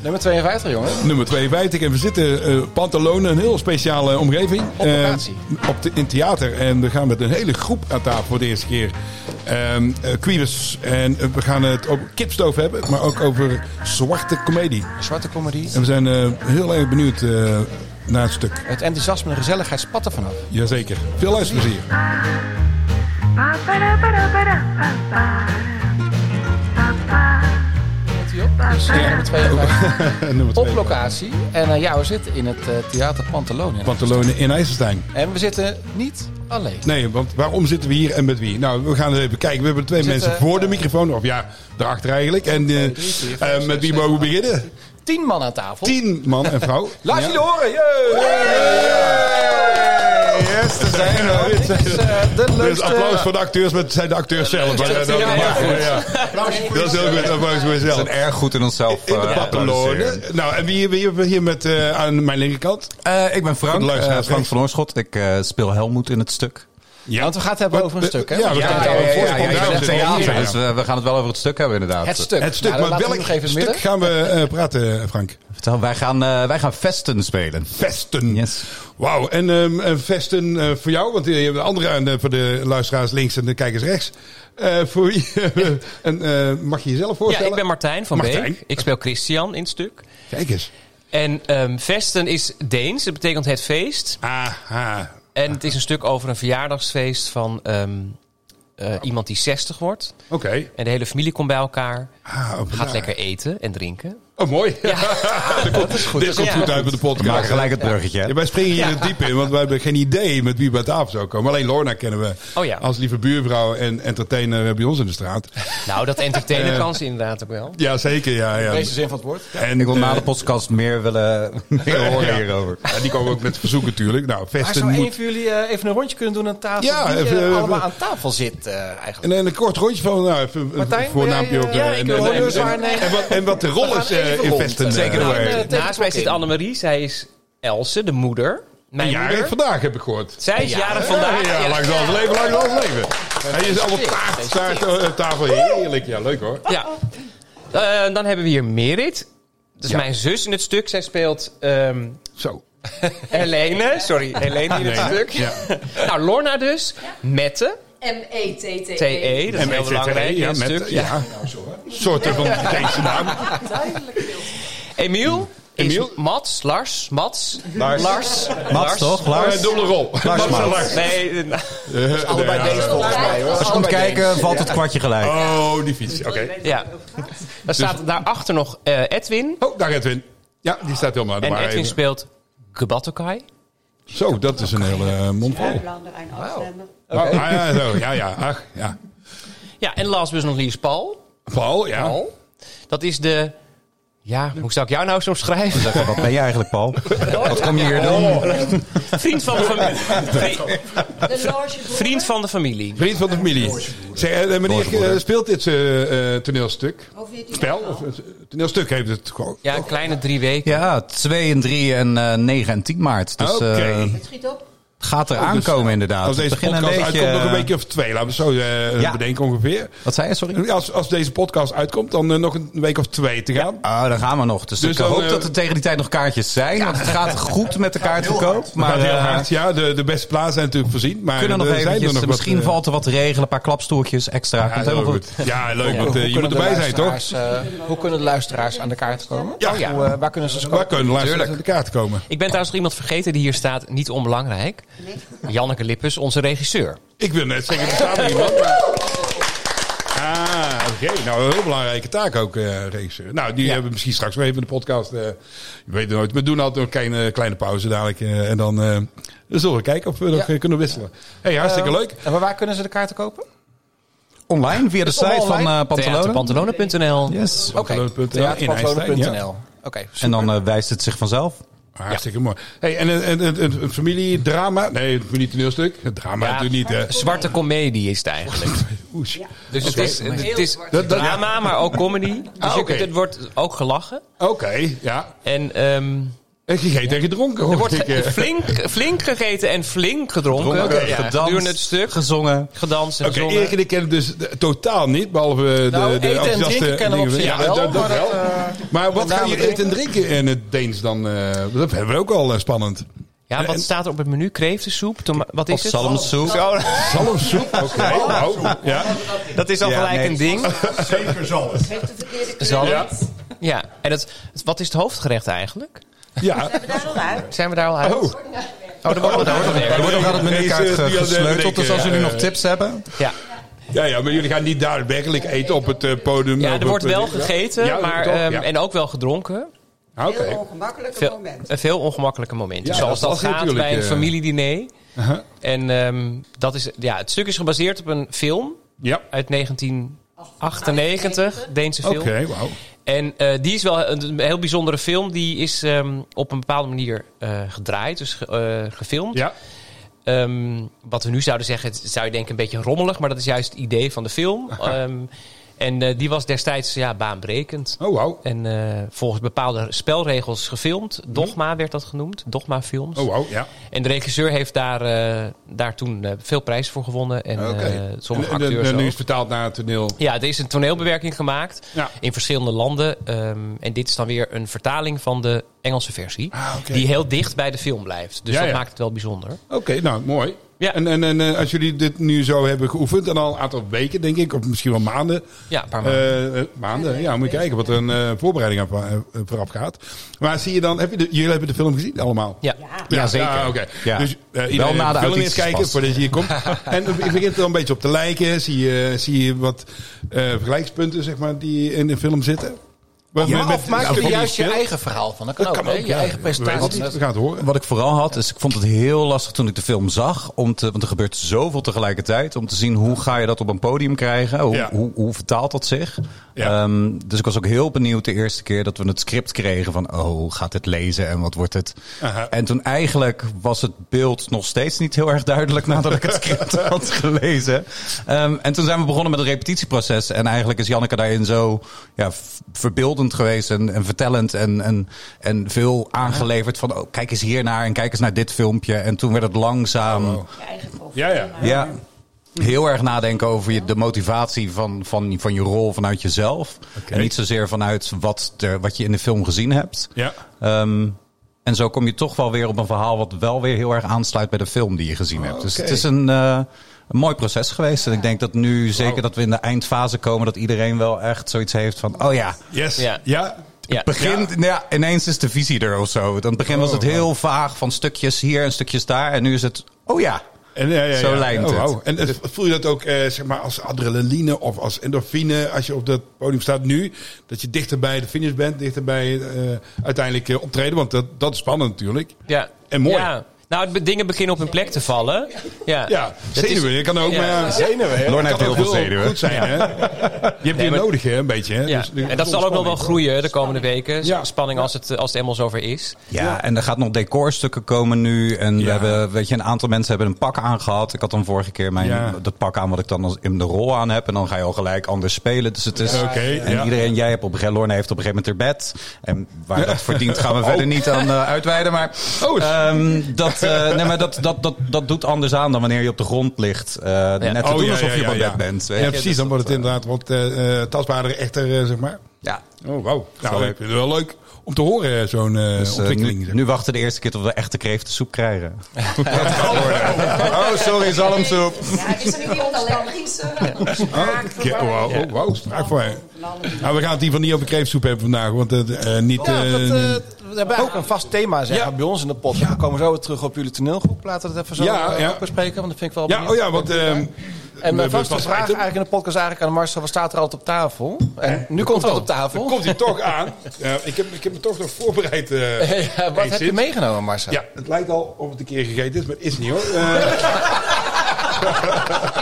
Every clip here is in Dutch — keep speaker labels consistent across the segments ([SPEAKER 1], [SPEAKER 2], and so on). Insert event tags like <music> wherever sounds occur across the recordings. [SPEAKER 1] Nummer 52, jongen.
[SPEAKER 2] Nummer 52. En we zitten eh Pantalone, een heel speciale eh, omgeving.
[SPEAKER 1] Op locatie.
[SPEAKER 2] Eh, op de, in theater. En we gaan met een hele groep aan tafel voor de eerste keer. Ehm eh, Quibus. En eh, we gaan het over kipstoof hebben, maar ook over zwarte komedie.
[SPEAKER 1] Zwarte comedy.
[SPEAKER 2] En we zijn eh, heel erg benieuwd eh, naar het stuk.
[SPEAKER 1] Het enthousiasme en de gezelligheid spatten vanaf.
[SPEAKER 2] Jazeker. Veel luisterplezier.
[SPEAKER 3] Pa, para, para, para, pa, para. Pa,
[SPEAKER 1] Let die op? Dus eh,
[SPEAKER 3] Ja.
[SPEAKER 1] nummer 52.
[SPEAKER 2] <laughs> Nummer
[SPEAKER 1] Op
[SPEAKER 2] twee.
[SPEAKER 1] locatie. En eh, ja, we zitten in het eh, theater Pantalone.
[SPEAKER 2] Pantalone in IJsselstein.
[SPEAKER 1] En we zitten niet alleen.
[SPEAKER 2] Nee, want waarom zitten we hier en met wie? Nou, we gaan eens even kijken. We hebben twee
[SPEAKER 1] We
[SPEAKER 2] mensen
[SPEAKER 1] zitten,
[SPEAKER 2] voor de
[SPEAKER 1] eh,
[SPEAKER 2] microfoon. Of ja, daarachter eigenlijk. En eh,
[SPEAKER 1] twee, drie, vier, vijf,
[SPEAKER 2] eh,
[SPEAKER 1] zes,
[SPEAKER 2] met wie
[SPEAKER 1] zeven,
[SPEAKER 2] mogen we
[SPEAKER 1] acht.
[SPEAKER 2] beginnen?
[SPEAKER 1] Tien man aan tafel.
[SPEAKER 2] Tien man en vrouw.
[SPEAKER 1] <laughs> Laat
[SPEAKER 2] Ja.
[SPEAKER 1] jullie horen. Yeah.
[SPEAKER 2] Yes, daar zijn we.
[SPEAKER 1] Nou, dit is eh, de
[SPEAKER 2] Dus
[SPEAKER 1] leukste...
[SPEAKER 2] applaus voor de acteurs, maar het zijn de acteurs zelf. Maar, eh, dat,
[SPEAKER 1] Ja, ja,
[SPEAKER 2] maar-
[SPEAKER 1] goed.
[SPEAKER 2] ja. dat is heel goed, applaus voor
[SPEAKER 4] We
[SPEAKER 2] jezelf.
[SPEAKER 4] zijn erg goed in onszelf.
[SPEAKER 2] In de
[SPEAKER 4] eh,
[SPEAKER 2] Pappelonen.
[SPEAKER 4] applaudisseren.
[SPEAKER 2] Nou, en wie wie hebben we hier met, eh, aan mijn linkerkant?
[SPEAKER 4] Eh, ik ben
[SPEAKER 2] Voor
[SPEAKER 4] Frank,
[SPEAKER 2] de luisteraars,
[SPEAKER 4] eh, Frank
[SPEAKER 2] rechts.
[SPEAKER 4] van Oorschot. Ik eh, speel Helmoet in het stuk.
[SPEAKER 2] Ja.
[SPEAKER 1] Want we gaan het hebben over een
[SPEAKER 2] we-
[SPEAKER 1] stuk, hè?
[SPEAKER 2] ja,
[SPEAKER 1] Want
[SPEAKER 2] we
[SPEAKER 1] jij
[SPEAKER 2] gaan
[SPEAKER 1] bent
[SPEAKER 2] het
[SPEAKER 1] al
[SPEAKER 2] over-
[SPEAKER 1] een
[SPEAKER 2] ja,
[SPEAKER 1] voorsprong.
[SPEAKER 2] ja, ja,
[SPEAKER 1] Nou,
[SPEAKER 2] ja,
[SPEAKER 1] zit
[SPEAKER 2] ja,
[SPEAKER 1] al hier.
[SPEAKER 2] ja, ja.
[SPEAKER 4] Dus we, we gaan het wel over het stuk hebben inderdaad.
[SPEAKER 1] Het stuk.
[SPEAKER 2] Het stuk,
[SPEAKER 1] Nou, dan
[SPEAKER 2] maar
[SPEAKER 1] laten we hem nog
[SPEAKER 2] welk
[SPEAKER 1] even
[SPEAKER 2] stuk
[SPEAKER 1] midden.
[SPEAKER 2] gaan we eh, praten, Frank?
[SPEAKER 4] Vertel, wij, gaan, eh, wij gaan Vesten spelen.
[SPEAKER 2] Vesten.
[SPEAKER 4] Yes.
[SPEAKER 2] Wauw, en ehm, eh, vesten eh, voor jou, want je hebt de andere aan de- voor de luisteraars links en de kijkers rechts. Eh, voor wie? <laughs> en, eh, mag je jezelf
[SPEAKER 5] Ja,
[SPEAKER 2] voorstellen?
[SPEAKER 5] ik ben Martijn van
[SPEAKER 2] Martijn.
[SPEAKER 5] Beek. Ik speel Christian in het stuk.
[SPEAKER 2] Kijk eens.
[SPEAKER 5] En ehm, Vesten is Deens, dat betekent het feest.
[SPEAKER 2] Aha.
[SPEAKER 5] En het is een stuk over een verjaardagsfeest van ehm, eh, iemand die 60 wordt.
[SPEAKER 2] Oké.
[SPEAKER 5] En de hele familie komt bij elkaar,
[SPEAKER 2] Ah, oh,
[SPEAKER 5] gaat
[SPEAKER 2] vandaar.
[SPEAKER 5] lekker eten en drinken.
[SPEAKER 2] Oh, mooi. <laughs> dat is goed.
[SPEAKER 5] <laughs>
[SPEAKER 2] Dit
[SPEAKER 5] Dat
[SPEAKER 2] komt
[SPEAKER 5] is
[SPEAKER 2] goed
[SPEAKER 5] goed.
[SPEAKER 2] uit met de
[SPEAKER 4] We maken
[SPEAKER 2] podcast.
[SPEAKER 4] gelijk het bruggetje. hè?
[SPEAKER 2] Ja, wij springen hier het diep in, want wij hebben geen idee met wie bij tafel zou komen. Alleen Lorna kennen we
[SPEAKER 5] Oh ja.
[SPEAKER 2] als lieve buurvrouw en entertainer eh, bij ons in de straat. Eh,
[SPEAKER 5] Nou, dat entertainen kan ze inderdaad ook wel.
[SPEAKER 2] Ja, zeker. Ja, ja.
[SPEAKER 1] In deze zin van het woord.
[SPEAKER 2] En,
[SPEAKER 4] Ik wil na
[SPEAKER 2] eh,
[SPEAKER 4] de podcast meer, willen, <laughs> meer horen hierover.
[SPEAKER 2] Ja, die komen ook met verzoek natuurlijk. Nou,
[SPEAKER 1] Maar
[SPEAKER 2] vesten
[SPEAKER 1] zou
[SPEAKER 2] moet...
[SPEAKER 1] één van jullie eh, even een rondje kunnen doen aan tafel?
[SPEAKER 2] Ja,
[SPEAKER 1] wie, eh,
[SPEAKER 2] even, eh,
[SPEAKER 1] allemaal
[SPEAKER 2] even-
[SPEAKER 1] aan tafel zit eh, eigenlijk.
[SPEAKER 2] En een kort rondje van, nou, even
[SPEAKER 1] Martijn,
[SPEAKER 2] een voornaampje
[SPEAKER 1] wil
[SPEAKER 2] op.
[SPEAKER 1] jij,
[SPEAKER 2] eh,
[SPEAKER 1] eh, ja, ik
[SPEAKER 2] en,
[SPEAKER 1] wil
[SPEAKER 2] en-
[SPEAKER 1] wel
[SPEAKER 2] en-
[SPEAKER 1] eens
[SPEAKER 2] en-
[SPEAKER 1] waarnemen.
[SPEAKER 2] en wat, en wat de rol
[SPEAKER 1] We
[SPEAKER 2] is
[SPEAKER 1] gaan
[SPEAKER 2] eh,
[SPEAKER 1] even
[SPEAKER 2] in
[SPEAKER 1] rond.
[SPEAKER 2] Vesten.
[SPEAKER 1] Zeker
[SPEAKER 2] eh,
[SPEAKER 1] waar.
[SPEAKER 2] eh,
[SPEAKER 1] Eh,
[SPEAKER 2] Een
[SPEAKER 1] tegen
[SPEAKER 5] Naast mij
[SPEAKER 1] de
[SPEAKER 5] zit
[SPEAKER 1] klok in.
[SPEAKER 5] Annemarie, zij is Else, de moeder. Mijn
[SPEAKER 2] jaar
[SPEAKER 5] moeder.
[SPEAKER 2] vandaag heb ik gehoord.
[SPEAKER 5] Zij is jarig vandaag.
[SPEAKER 2] Ja, ja, langs ons leven, langs ons leven. Hij is allemaal paard, staart, eh, tafel. Heerlijk, ja, leuk hoor.
[SPEAKER 5] Ja. Eh, dan hebben we hier Merit. Dat is
[SPEAKER 2] Ja.
[SPEAKER 5] mijn zus in het stuk. Zij speelt ehm,
[SPEAKER 2] Zo.
[SPEAKER 5] <laughs> Helene. Sorry, Helene in het
[SPEAKER 2] Helene,
[SPEAKER 5] stuk. Nou, Lorna dus. E. Mette.
[SPEAKER 6] E
[SPEAKER 7] M-E-T-T-E.
[SPEAKER 5] TE. Dat is heel
[SPEAKER 2] met
[SPEAKER 5] belangrijk in
[SPEAKER 2] ja,
[SPEAKER 5] het
[SPEAKER 2] met,
[SPEAKER 5] stuk. Ja.
[SPEAKER 2] ja. Soorten van deze naam.
[SPEAKER 5] Emiel. is
[SPEAKER 2] Emiel?
[SPEAKER 5] Mats, Lars, Mats,
[SPEAKER 2] Lars.
[SPEAKER 5] Lars, Oh,
[SPEAKER 4] Mats, toch? Lars?
[SPEAKER 2] Eh, Dubbele rol.
[SPEAKER 4] Lars, Maat.
[SPEAKER 5] Nee, eh, nou,
[SPEAKER 2] Allebei deze
[SPEAKER 4] Als je komt kijken, valt het kwartje gelijk.
[SPEAKER 2] eh, Oh, die fiets. Oké. Dus-
[SPEAKER 5] ja. Dan staat daarachter nog eh, Edwin.
[SPEAKER 2] Oh, daar Edwin. Ja, die staat helemaal aan de
[SPEAKER 5] En
[SPEAKER 2] bar
[SPEAKER 5] Edwin
[SPEAKER 2] even.
[SPEAKER 5] speelt Gebatokai.
[SPEAKER 2] Zo, dat is een hele eh, mondvol.
[SPEAKER 7] Uitlander en Afstemmer.
[SPEAKER 2] Oh, ah, ja, zo. Ja, ja. Ach, ja.
[SPEAKER 5] Ja, en last but not least Paul.
[SPEAKER 2] Paul, ja.
[SPEAKER 5] Paul. Dat is de... Ja, hoe zou ik jou nou zo schrijven? Oh.
[SPEAKER 4] Wat ben je eigenlijk, Paul? Wat kom je hier doen?
[SPEAKER 5] Vriend van de familie.
[SPEAKER 7] De Loge Boer.
[SPEAKER 5] Vriend van de familie.
[SPEAKER 2] Vriend van de familie. Zeg, eh, eh, meneer,
[SPEAKER 4] Mooi, mooi.
[SPEAKER 2] eh, speelt dit eh, eh, toneelstuk?
[SPEAKER 7] Hoe vind je die
[SPEAKER 2] Spel?
[SPEAKER 7] nou?
[SPEAKER 2] Of, eh, toneelstuk heeft het gewoon.
[SPEAKER 5] Ja, een kleine drie weken.
[SPEAKER 4] Ja, 2 en 3 en eh 9 en 10 maart. Dus eh,
[SPEAKER 2] Oké. Oh, dus
[SPEAKER 4] het
[SPEAKER 7] Het schiet op.
[SPEAKER 4] gaat er aankomen inderdaad.
[SPEAKER 2] Als
[SPEAKER 4] Het
[SPEAKER 2] deze
[SPEAKER 4] begint eh,
[SPEAKER 2] podcast uitkomt, nog een weekje of twee, laten we het zo eh,
[SPEAKER 4] Ja.
[SPEAKER 2] bedenken ongeveer.
[SPEAKER 4] Wat zei je, sorry?
[SPEAKER 2] Als, als deze podcast uitkomt, dan eh, nog een week of twee te gaan.
[SPEAKER 4] Ah, daar gaan we nog. Dus,
[SPEAKER 2] Dus
[SPEAKER 4] ik
[SPEAKER 2] dan,
[SPEAKER 4] hoop
[SPEAKER 2] eh,
[SPEAKER 4] dat er tegen die tijd nog kaartjes zijn. Want het gaat goed met de kaartverkoop.
[SPEAKER 2] Maar
[SPEAKER 4] Maar
[SPEAKER 2] heel
[SPEAKER 4] eh,
[SPEAKER 2] hard, ja, de, de beste plaatsen zijn natuurlijk voorzien. <laughs> Maar
[SPEAKER 4] we kunnen nog
[SPEAKER 2] er zijn er
[SPEAKER 4] eventjes...
[SPEAKER 2] nog
[SPEAKER 4] misschien
[SPEAKER 2] wat, eh,
[SPEAKER 4] valt er wat te regelen. Een paar klapstoeltjes extra.
[SPEAKER 2] ja,
[SPEAKER 4] Komt heel
[SPEAKER 2] heel
[SPEAKER 4] goed.
[SPEAKER 2] goed. Ja, leuk, want eh,
[SPEAKER 1] Hoe
[SPEAKER 2] je moet
[SPEAKER 1] kunnen
[SPEAKER 2] erbij
[SPEAKER 1] de
[SPEAKER 2] zijn, toch?
[SPEAKER 1] luisteraars, eh, hoe kunnen de luisteraars aan de kaart komen?
[SPEAKER 2] Ja.
[SPEAKER 1] Oh, Hoe, eh, waar kunnen ze ze
[SPEAKER 2] Waar
[SPEAKER 1] kopen?
[SPEAKER 2] kunnen luisteraars aan de kaart komen?
[SPEAKER 5] Ik ben trouwens nog iemand vergeten die hier staat. Niet onbelangrijk. Janneke Lippus, onze regisseur.
[SPEAKER 2] Ik wil net zeggen, er staat er iemand. maar- Ah, oké. Nou, een heel belangrijke taak ook, eh regisseur. Nou, die hebben we misschien straks weer even in de podcast. eh je weet het nooit. We doen altijd een kleine, kleine pauze dadelijk. eh, en dan eh, dan zullen we kijken of we nog eh, kunnen wisselen. hey, hartstikke leuk. Eh,
[SPEAKER 1] Eh, maar waar kunnen ze de kaarten kopen?
[SPEAKER 4] Online, via de site
[SPEAKER 1] allemaal
[SPEAKER 4] van eh Pantalone.
[SPEAKER 5] Pantalone.nl.
[SPEAKER 4] Yes.
[SPEAKER 2] Pantalone.nl, in IJsselstein, ja. Ah,
[SPEAKER 1] Theaterpantalone.nl. Oké,
[SPEAKER 4] En dan eh, wijst het zich vanzelf.
[SPEAKER 2] Hartstikke mooi. Hey, en een, een, een, een familiedrama? Nee, het familie toneelstuk. Het drama
[SPEAKER 5] Ja.
[SPEAKER 2] natuurlijk niet, hè.
[SPEAKER 5] Zwarte comedie is het eigenlijk.
[SPEAKER 2] Oesh.
[SPEAKER 5] Dus het is, het is
[SPEAKER 2] Dat- dat-
[SPEAKER 5] drama, maar ook comedy. Dus
[SPEAKER 2] Ah,
[SPEAKER 5] je-
[SPEAKER 2] oké.
[SPEAKER 5] het wordt ook gelachen.
[SPEAKER 2] Oké, ja.
[SPEAKER 5] En ehm,
[SPEAKER 2] En gegeten en gedronken.
[SPEAKER 5] Er
[SPEAKER 2] hoor
[SPEAKER 5] wordt
[SPEAKER 2] ik,
[SPEAKER 5] ge-
[SPEAKER 2] eh.
[SPEAKER 5] flink, flink gegeten en flink gedronken.
[SPEAKER 4] Gedronken,
[SPEAKER 5] Oké, ja.
[SPEAKER 4] gedanst.
[SPEAKER 5] Gedurende het stuk.
[SPEAKER 4] Gezongen.
[SPEAKER 5] Gedanst en
[SPEAKER 2] Oké,
[SPEAKER 5] gezongen.
[SPEAKER 2] Erik en ik kennen het dus eh, totaal niet, behalve eh, de,
[SPEAKER 1] Nou,
[SPEAKER 2] de
[SPEAKER 1] eten en
[SPEAKER 2] enthousiaste...
[SPEAKER 1] drinken kennen we op
[SPEAKER 2] dingen.
[SPEAKER 1] zich
[SPEAKER 2] ja,
[SPEAKER 1] wel,
[SPEAKER 2] dat, dat
[SPEAKER 1] maar
[SPEAKER 2] wel.
[SPEAKER 1] dat, eh,
[SPEAKER 2] maar wat gaan
[SPEAKER 1] name
[SPEAKER 2] jullie eten en drinken in het Deens dan? eh, dat hebben we ook al eh, spannend.
[SPEAKER 5] ja, wat staat er op het menu? Kreeftensoep? Toma- wat
[SPEAKER 4] Of
[SPEAKER 5] is het?
[SPEAKER 4] zalmsoep.
[SPEAKER 5] Oh,
[SPEAKER 2] Zalmsoep,
[SPEAKER 5] <laughs>
[SPEAKER 2] oké. nou, ja.
[SPEAKER 5] dat is al
[SPEAKER 4] Ja,
[SPEAKER 5] gelijk
[SPEAKER 4] nee.
[SPEAKER 5] een ding.
[SPEAKER 8] Zeker zal het.
[SPEAKER 7] Heeft de verkeerde kleur.
[SPEAKER 5] Zalm.
[SPEAKER 7] Ja.
[SPEAKER 5] Ja, en dat, wat is het hoofdgerecht eigenlijk?
[SPEAKER 2] ja.
[SPEAKER 7] We daar al uit.
[SPEAKER 5] Zijn we daar al uit?
[SPEAKER 2] Oh.
[SPEAKER 5] Oh, dan wordt het ook
[SPEAKER 4] Er wordt nog aan het menukaart
[SPEAKER 2] Deze, die
[SPEAKER 4] ge-
[SPEAKER 2] aan de
[SPEAKER 4] gesleuteld.
[SPEAKER 2] denken,
[SPEAKER 4] Dus als
[SPEAKER 2] ja,
[SPEAKER 4] jullie nog
[SPEAKER 2] eh,
[SPEAKER 4] tips hebben.
[SPEAKER 5] Ja,
[SPEAKER 2] Ja, ja, maar jullie gaan niet daadwerkelijk eten op het eh, podium.
[SPEAKER 5] ja
[SPEAKER 2] op
[SPEAKER 5] er wordt
[SPEAKER 2] het-
[SPEAKER 5] wel
[SPEAKER 2] ja?
[SPEAKER 5] gegeten
[SPEAKER 2] Ja,
[SPEAKER 5] maar,
[SPEAKER 2] toch?
[SPEAKER 5] ehm,
[SPEAKER 2] Ja.
[SPEAKER 5] en ook wel gedronken.
[SPEAKER 2] Oké.
[SPEAKER 8] Heel ongemakkelijke
[SPEAKER 5] Veel,
[SPEAKER 8] moment.
[SPEAKER 5] een veel ongemakkelijke momenten.
[SPEAKER 2] Ja,
[SPEAKER 5] zoals
[SPEAKER 2] dat
[SPEAKER 5] dat,
[SPEAKER 2] is
[SPEAKER 5] gaat
[SPEAKER 2] natuurlijk,
[SPEAKER 5] bij een
[SPEAKER 2] eh, Uh-huh.
[SPEAKER 5] familiediner. En ehm, dat is, ja, het stuk is gebaseerd op een film
[SPEAKER 2] Ja.
[SPEAKER 5] uit 1998. Deense
[SPEAKER 2] Oké,
[SPEAKER 5] film.
[SPEAKER 2] wauw.
[SPEAKER 5] En eh, die is wel een, een heel bijzondere film. Die is ehm, op een bepaalde manier eh, gedraaid, dus ge- eh, gefilmd.
[SPEAKER 2] Ja.
[SPEAKER 5] Ehm, wat we nu zouden zeggen, het zou je denken een beetje rommelig, maar dat is juist het idee van de
[SPEAKER 2] <laughs>
[SPEAKER 5] film. Ehm, en eh, die was destijds ja, baanbrekend.
[SPEAKER 2] Oh, wauw. Mhm.
[SPEAKER 5] En eh, volgens bepaalde spelregels gefilmd. Dogma werd dat genoemd, Dogma Films.
[SPEAKER 2] Oh, wauw, ja.
[SPEAKER 5] En de regisseur heeft daar, eh, daar toen eh, veel prijzen voor gewonnen. En eh,
[SPEAKER 2] Oké.
[SPEAKER 5] sommige
[SPEAKER 2] En- en- en-
[SPEAKER 5] acteurs
[SPEAKER 2] en nu
[SPEAKER 5] ook.
[SPEAKER 2] is vertaald naar het toneel.
[SPEAKER 5] Ja, er is een toneelbewerking gemaakt
[SPEAKER 2] Ja.
[SPEAKER 5] in verschillende landen. ehm, en dit is dan weer een vertaling van de Engelse versie.
[SPEAKER 2] Ah, oké.
[SPEAKER 5] Die heel dicht bij de film blijft. Dus
[SPEAKER 2] Ja,
[SPEAKER 5] dat
[SPEAKER 2] ja.
[SPEAKER 5] maakt het wel bijzonder.
[SPEAKER 2] Oké, nou, mooi.
[SPEAKER 5] Ja.
[SPEAKER 2] En, en, en eh, als jullie dit nu zo hebben geoefend, dan al een aantal weken, denk ik, of misschien wel maanden.
[SPEAKER 5] Ja, een paar maanden.
[SPEAKER 2] eh, eh, maanden, ja, moet je kijken wat er een eh, voorbereiding aan va- eh, vooraf gaat. Maar zie je dan, heb je de, jullie hebben de film gezien allemaal?
[SPEAKER 5] ja.
[SPEAKER 2] Ja,
[SPEAKER 4] zeker.
[SPEAKER 2] Ja, oké.
[SPEAKER 4] Ja.
[SPEAKER 2] Dus eh iedereen
[SPEAKER 4] na de
[SPEAKER 2] wil eens
[SPEAKER 4] audities
[SPEAKER 2] kijken
[SPEAKER 4] pas.
[SPEAKER 2] voordat je hier komt. en je begint er een beetje op te lijken. Zie je, zie je wat eh, vergelijkspunten zeg maar, die in de film zitten? Wat
[SPEAKER 1] Ja, of maak je er
[SPEAKER 2] die
[SPEAKER 1] juist je
[SPEAKER 2] film?
[SPEAKER 1] eigen verhaal van. Dat kan
[SPEAKER 2] Dat
[SPEAKER 1] ook,
[SPEAKER 2] kan
[SPEAKER 1] hè?
[SPEAKER 2] ook,
[SPEAKER 1] Je
[SPEAKER 2] ja.
[SPEAKER 1] eigen
[SPEAKER 2] We weten
[SPEAKER 1] presentatie.
[SPEAKER 2] niet, we
[SPEAKER 1] Dat-
[SPEAKER 2] gaan het horen.
[SPEAKER 4] Wat ik vooral had, is ik vond het heel lastig toen ik de film zag. Om te, want er gebeurt zoveel tegelijkertijd. Om te zien hoe ga je dat op een podium krijgen. Hoe,
[SPEAKER 2] Ja.
[SPEAKER 4] hoe, hoe vertaalt dat zich?
[SPEAKER 2] Ja.
[SPEAKER 4] Ehm, dus ik was ook heel benieuwd de eerste keer dat we het script kregen. Van oh, hoe gaat dit lezen en wat wordt het?
[SPEAKER 2] Aha.
[SPEAKER 4] En toen eigenlijk was het beeld nog steeds niet heel erg duidelijk nadat ik het script
[SPEAKER 2] <laughs>
[SPEAKER 4] had gelezen. Ehm, en toen zijn we begonnen met het repetitieproces. En eigenlijk is Janneke daarin zo ja, v- verbeeldend geweest en, en vertellend. En, en, en veel aangeleverd van oh, kijk eens hiernaar en kijk eens naar dit filmpje. En toen werd het langzaam.
[SPEAKER 7] Je eigen profiel.
[SPEAKER 2] Ja, ja.
[SPEAKER 7] Maar
[SPEAKER 4] Ja. Heel erg nadenken over je, de motivatie van, van, van je rol vanuit jezelf. En niet zozeer vanuit wat, er, wat je in de film gezien hebt.
[SPEAKER 2] Ja.
[SPEAKER 4] Ehm, en zo kom je toch wel weer op een verhaal wat wel weer heel erg aansluit bij de film die je gezien hebt. Dus
[SPEAKER 2] oké.
[SPEAKER 4] het is een, eh, een mooi proces geweest. En ik denk dat nu, zeker dat we in de eindfase komen, dat iedereen wel echt zoiets heeft van: oh ja,
[SPEAKER 2] Yes. Ja.
[SPEAKER 5] Ja. Ja.
[SPEAKER 4] Begin, ja. ineens is de visie er of zo. Aan het begin was het
[SPEAKER 2] Oh,
[SPEAKER 4] heel vaag van stukjes hier en stukjes daar. En nu is het, oh ja.
[SPEAKER 2] En, ja, ja, ja.
[SPEAKER 4] Zo lijnt
[SPEAKER 2] Oh,
[SPEAKER 4] het. Dus-
[SPEAKER 2] wauw. En eh, voel je dat ook eh, zeg maar als adrenaline of als endorfine als je op dat podium staat nu? Dat je dichter bij de finish bent, dichter bij eh, uiteindelijk eh, optreden. Want dat, dat is spannend natuurlijk.
[SPEAKER 5] Ja.
[SPEAKER 2] En mooi.
[SPEAKER 5] Ja. Nou, het be- dingen beginnen op hun plek te vallen. Ja,
[SPEAKER 2] Ja,
[SPEAKER 5] Dat is-
[SPEAKER 2] zenuwen. Je kan ook
[SPEAKER 5] ja.
[SPEAKER 2] maar zenuwen. hè?
[SPEAKER 4] Lorna
[SPEAKER 2] Dat
[SPEAKER 4] heeft
[SPEAKER 2] kan
[SPEAKER 4] heel
[SPEAKER 2] ook
[SPEAKER 4] veel zenuwen.
[SPEAKER 2] Goed zijn, hè? Je hebt die
[SPEAKER 5] maar-
[SPEAKER 2] nodig, hè, een beetje. Hè?
[SPEAKER 5] Ja.
[SPEAKER 2] Dus- dus
[SPEAKER 5] en dat zal ook nog wel groeien de komende weken.
[SPEAKER 2] Ja.
[SPEAKER 5] Spanning als het, als het eenmaal zover is.
[SPEAKER 4] Ja, en er gaat nog decorstukken komen nu. En
[SPEAKER 2] Ja.
[SPEAKER 4] we hebben, weet je, een aantal mensen hebben een pak aangehad. Ik had dan vorige keer mijn,
[SPEAKER 2] Ja.
[SPEAKER 4] dat pak aan wat ik dan als, in de rol aan heb. En dan ga je al gelijk anders spelen. Dus het is...
[SPEAKER 2] Ja, oké,
[SPEAKER 4] en
[SPEAKER 2] ja.
[SPEAKER 4] iedereen, jij hebt op een gegeven Lorna heeft op een gegeven moment haar bed. En waar dat verdient
[SPEAKER 2] <laughs>
[SPEAKER 4] gaan we verder niet aan eh, uitweiden. Maar,
[SPEAKER 2] Oh,
[SPEAKER 4] ehm, dat, eh, nee, maar dat, dat, dat, dat doet anders aan dan wanneer je op de grond ligt. eh Net te
[SPEAKER 2] Oh,
[SPEAKER 4] doen
[SPEAKER 2] ja,
[SPEAKER 4] alsof
[SPEAKER 2] ja,
[SPEAKER 4] je
[SPEAKER 2] ja,
[SPEAKER 4] op een
[SPEAKER 2] ja.
[SPEAKER 4] bed bent. weet
[SPEAKER 2] Ja,
[SPEAKER 4] je. Dus
[SPEAKER 2] precies. Dan wordt het inderdaad wat eh, eh, tastbaarder, echter, eh, zeg maar.
[SPEAKER 4] Ja.
[SPEAKER 2] Oh, wauw. Nou,
[SPEAKER 4] wel
[SPEAKER 2] ik
[SPEAKER 4] leuk.
[SPEAKER 2] vind het wel leuk om te horen, eh, zo'n eh,
[SPEAKER 4] Dus, eh,
[SPEAKER 2] ontwikkeling.
[SPEAKER 4] nu,
[SPEAKER 2] zeg
[SPEAKER 4] nu wachten we de eerste keer tot we echte kreeftensoep krijgen.
[SPEAKER 2] Oh, sorry, zalmsoep.
[SPEAKER 7] Ja, het is er niet iemand allergisch. eh.
[SPEAKER 1] eh,
[SPEAKER 2] Oh, wauw, oh, wauw, spraak voor je. Nou, we gaan het in ieder geval niet over kreefsoep hebben vandaag, want eh, eh, niet...
[SPEAKER 1] Ja,
[SPEAKER 2] eh,
[SPEAKER 1] dat, eh,
[SPEAKER 2] niet-
[SPEAKER 1] we hebben ook een vast thema zeg, maar, bij ons in de pot. We komen zo weer terug op jullie toneelgroep. Laten we dat even zo
[SPEAKER 2] Ja,
[SPEAKER 1] eh,
[SPEAKER 2] ja.
[SPEAKER 1] ook bespreken, want dat vind ik wel
[SPEAKER 2] ja,
[SPEAKER 1] benieuwd. eh,
[SPEAKER 2] oh ja, want... ehm,
[SPEAKER 1] En
[SPEAKER 2] we
[SPEAKER 1] mijn
[SPEAKER 2] hebben
[SPEAKER 1] vaste
[SPEAKER 2] vast
[SPEAKER 1] vraag
[SPEAKER 2] item.
[SPEAKER 1] eigenlijk in de podcast eigenlijk aan Marcel, wat staat er altijd op tafel? eh, En nu komt het op
[SPEAKER 2] Oh, Dan
[SPEAKER 1] tafel.
[SPEAKER 2] komt hij toch aan. Ja, ik, heb, ik heb me toch nog voorbereid. eh,
[SPEAKER 1] <laughs> Ja, wat heb je
[SPEAKER 2] Sinds-
[SPEAKER 1] meegenomen, Marcel?
[SPEAKER 2] Ja, het lijkt al of het een keer gegeten is, maar het is niet hoor. Eh, <laughs>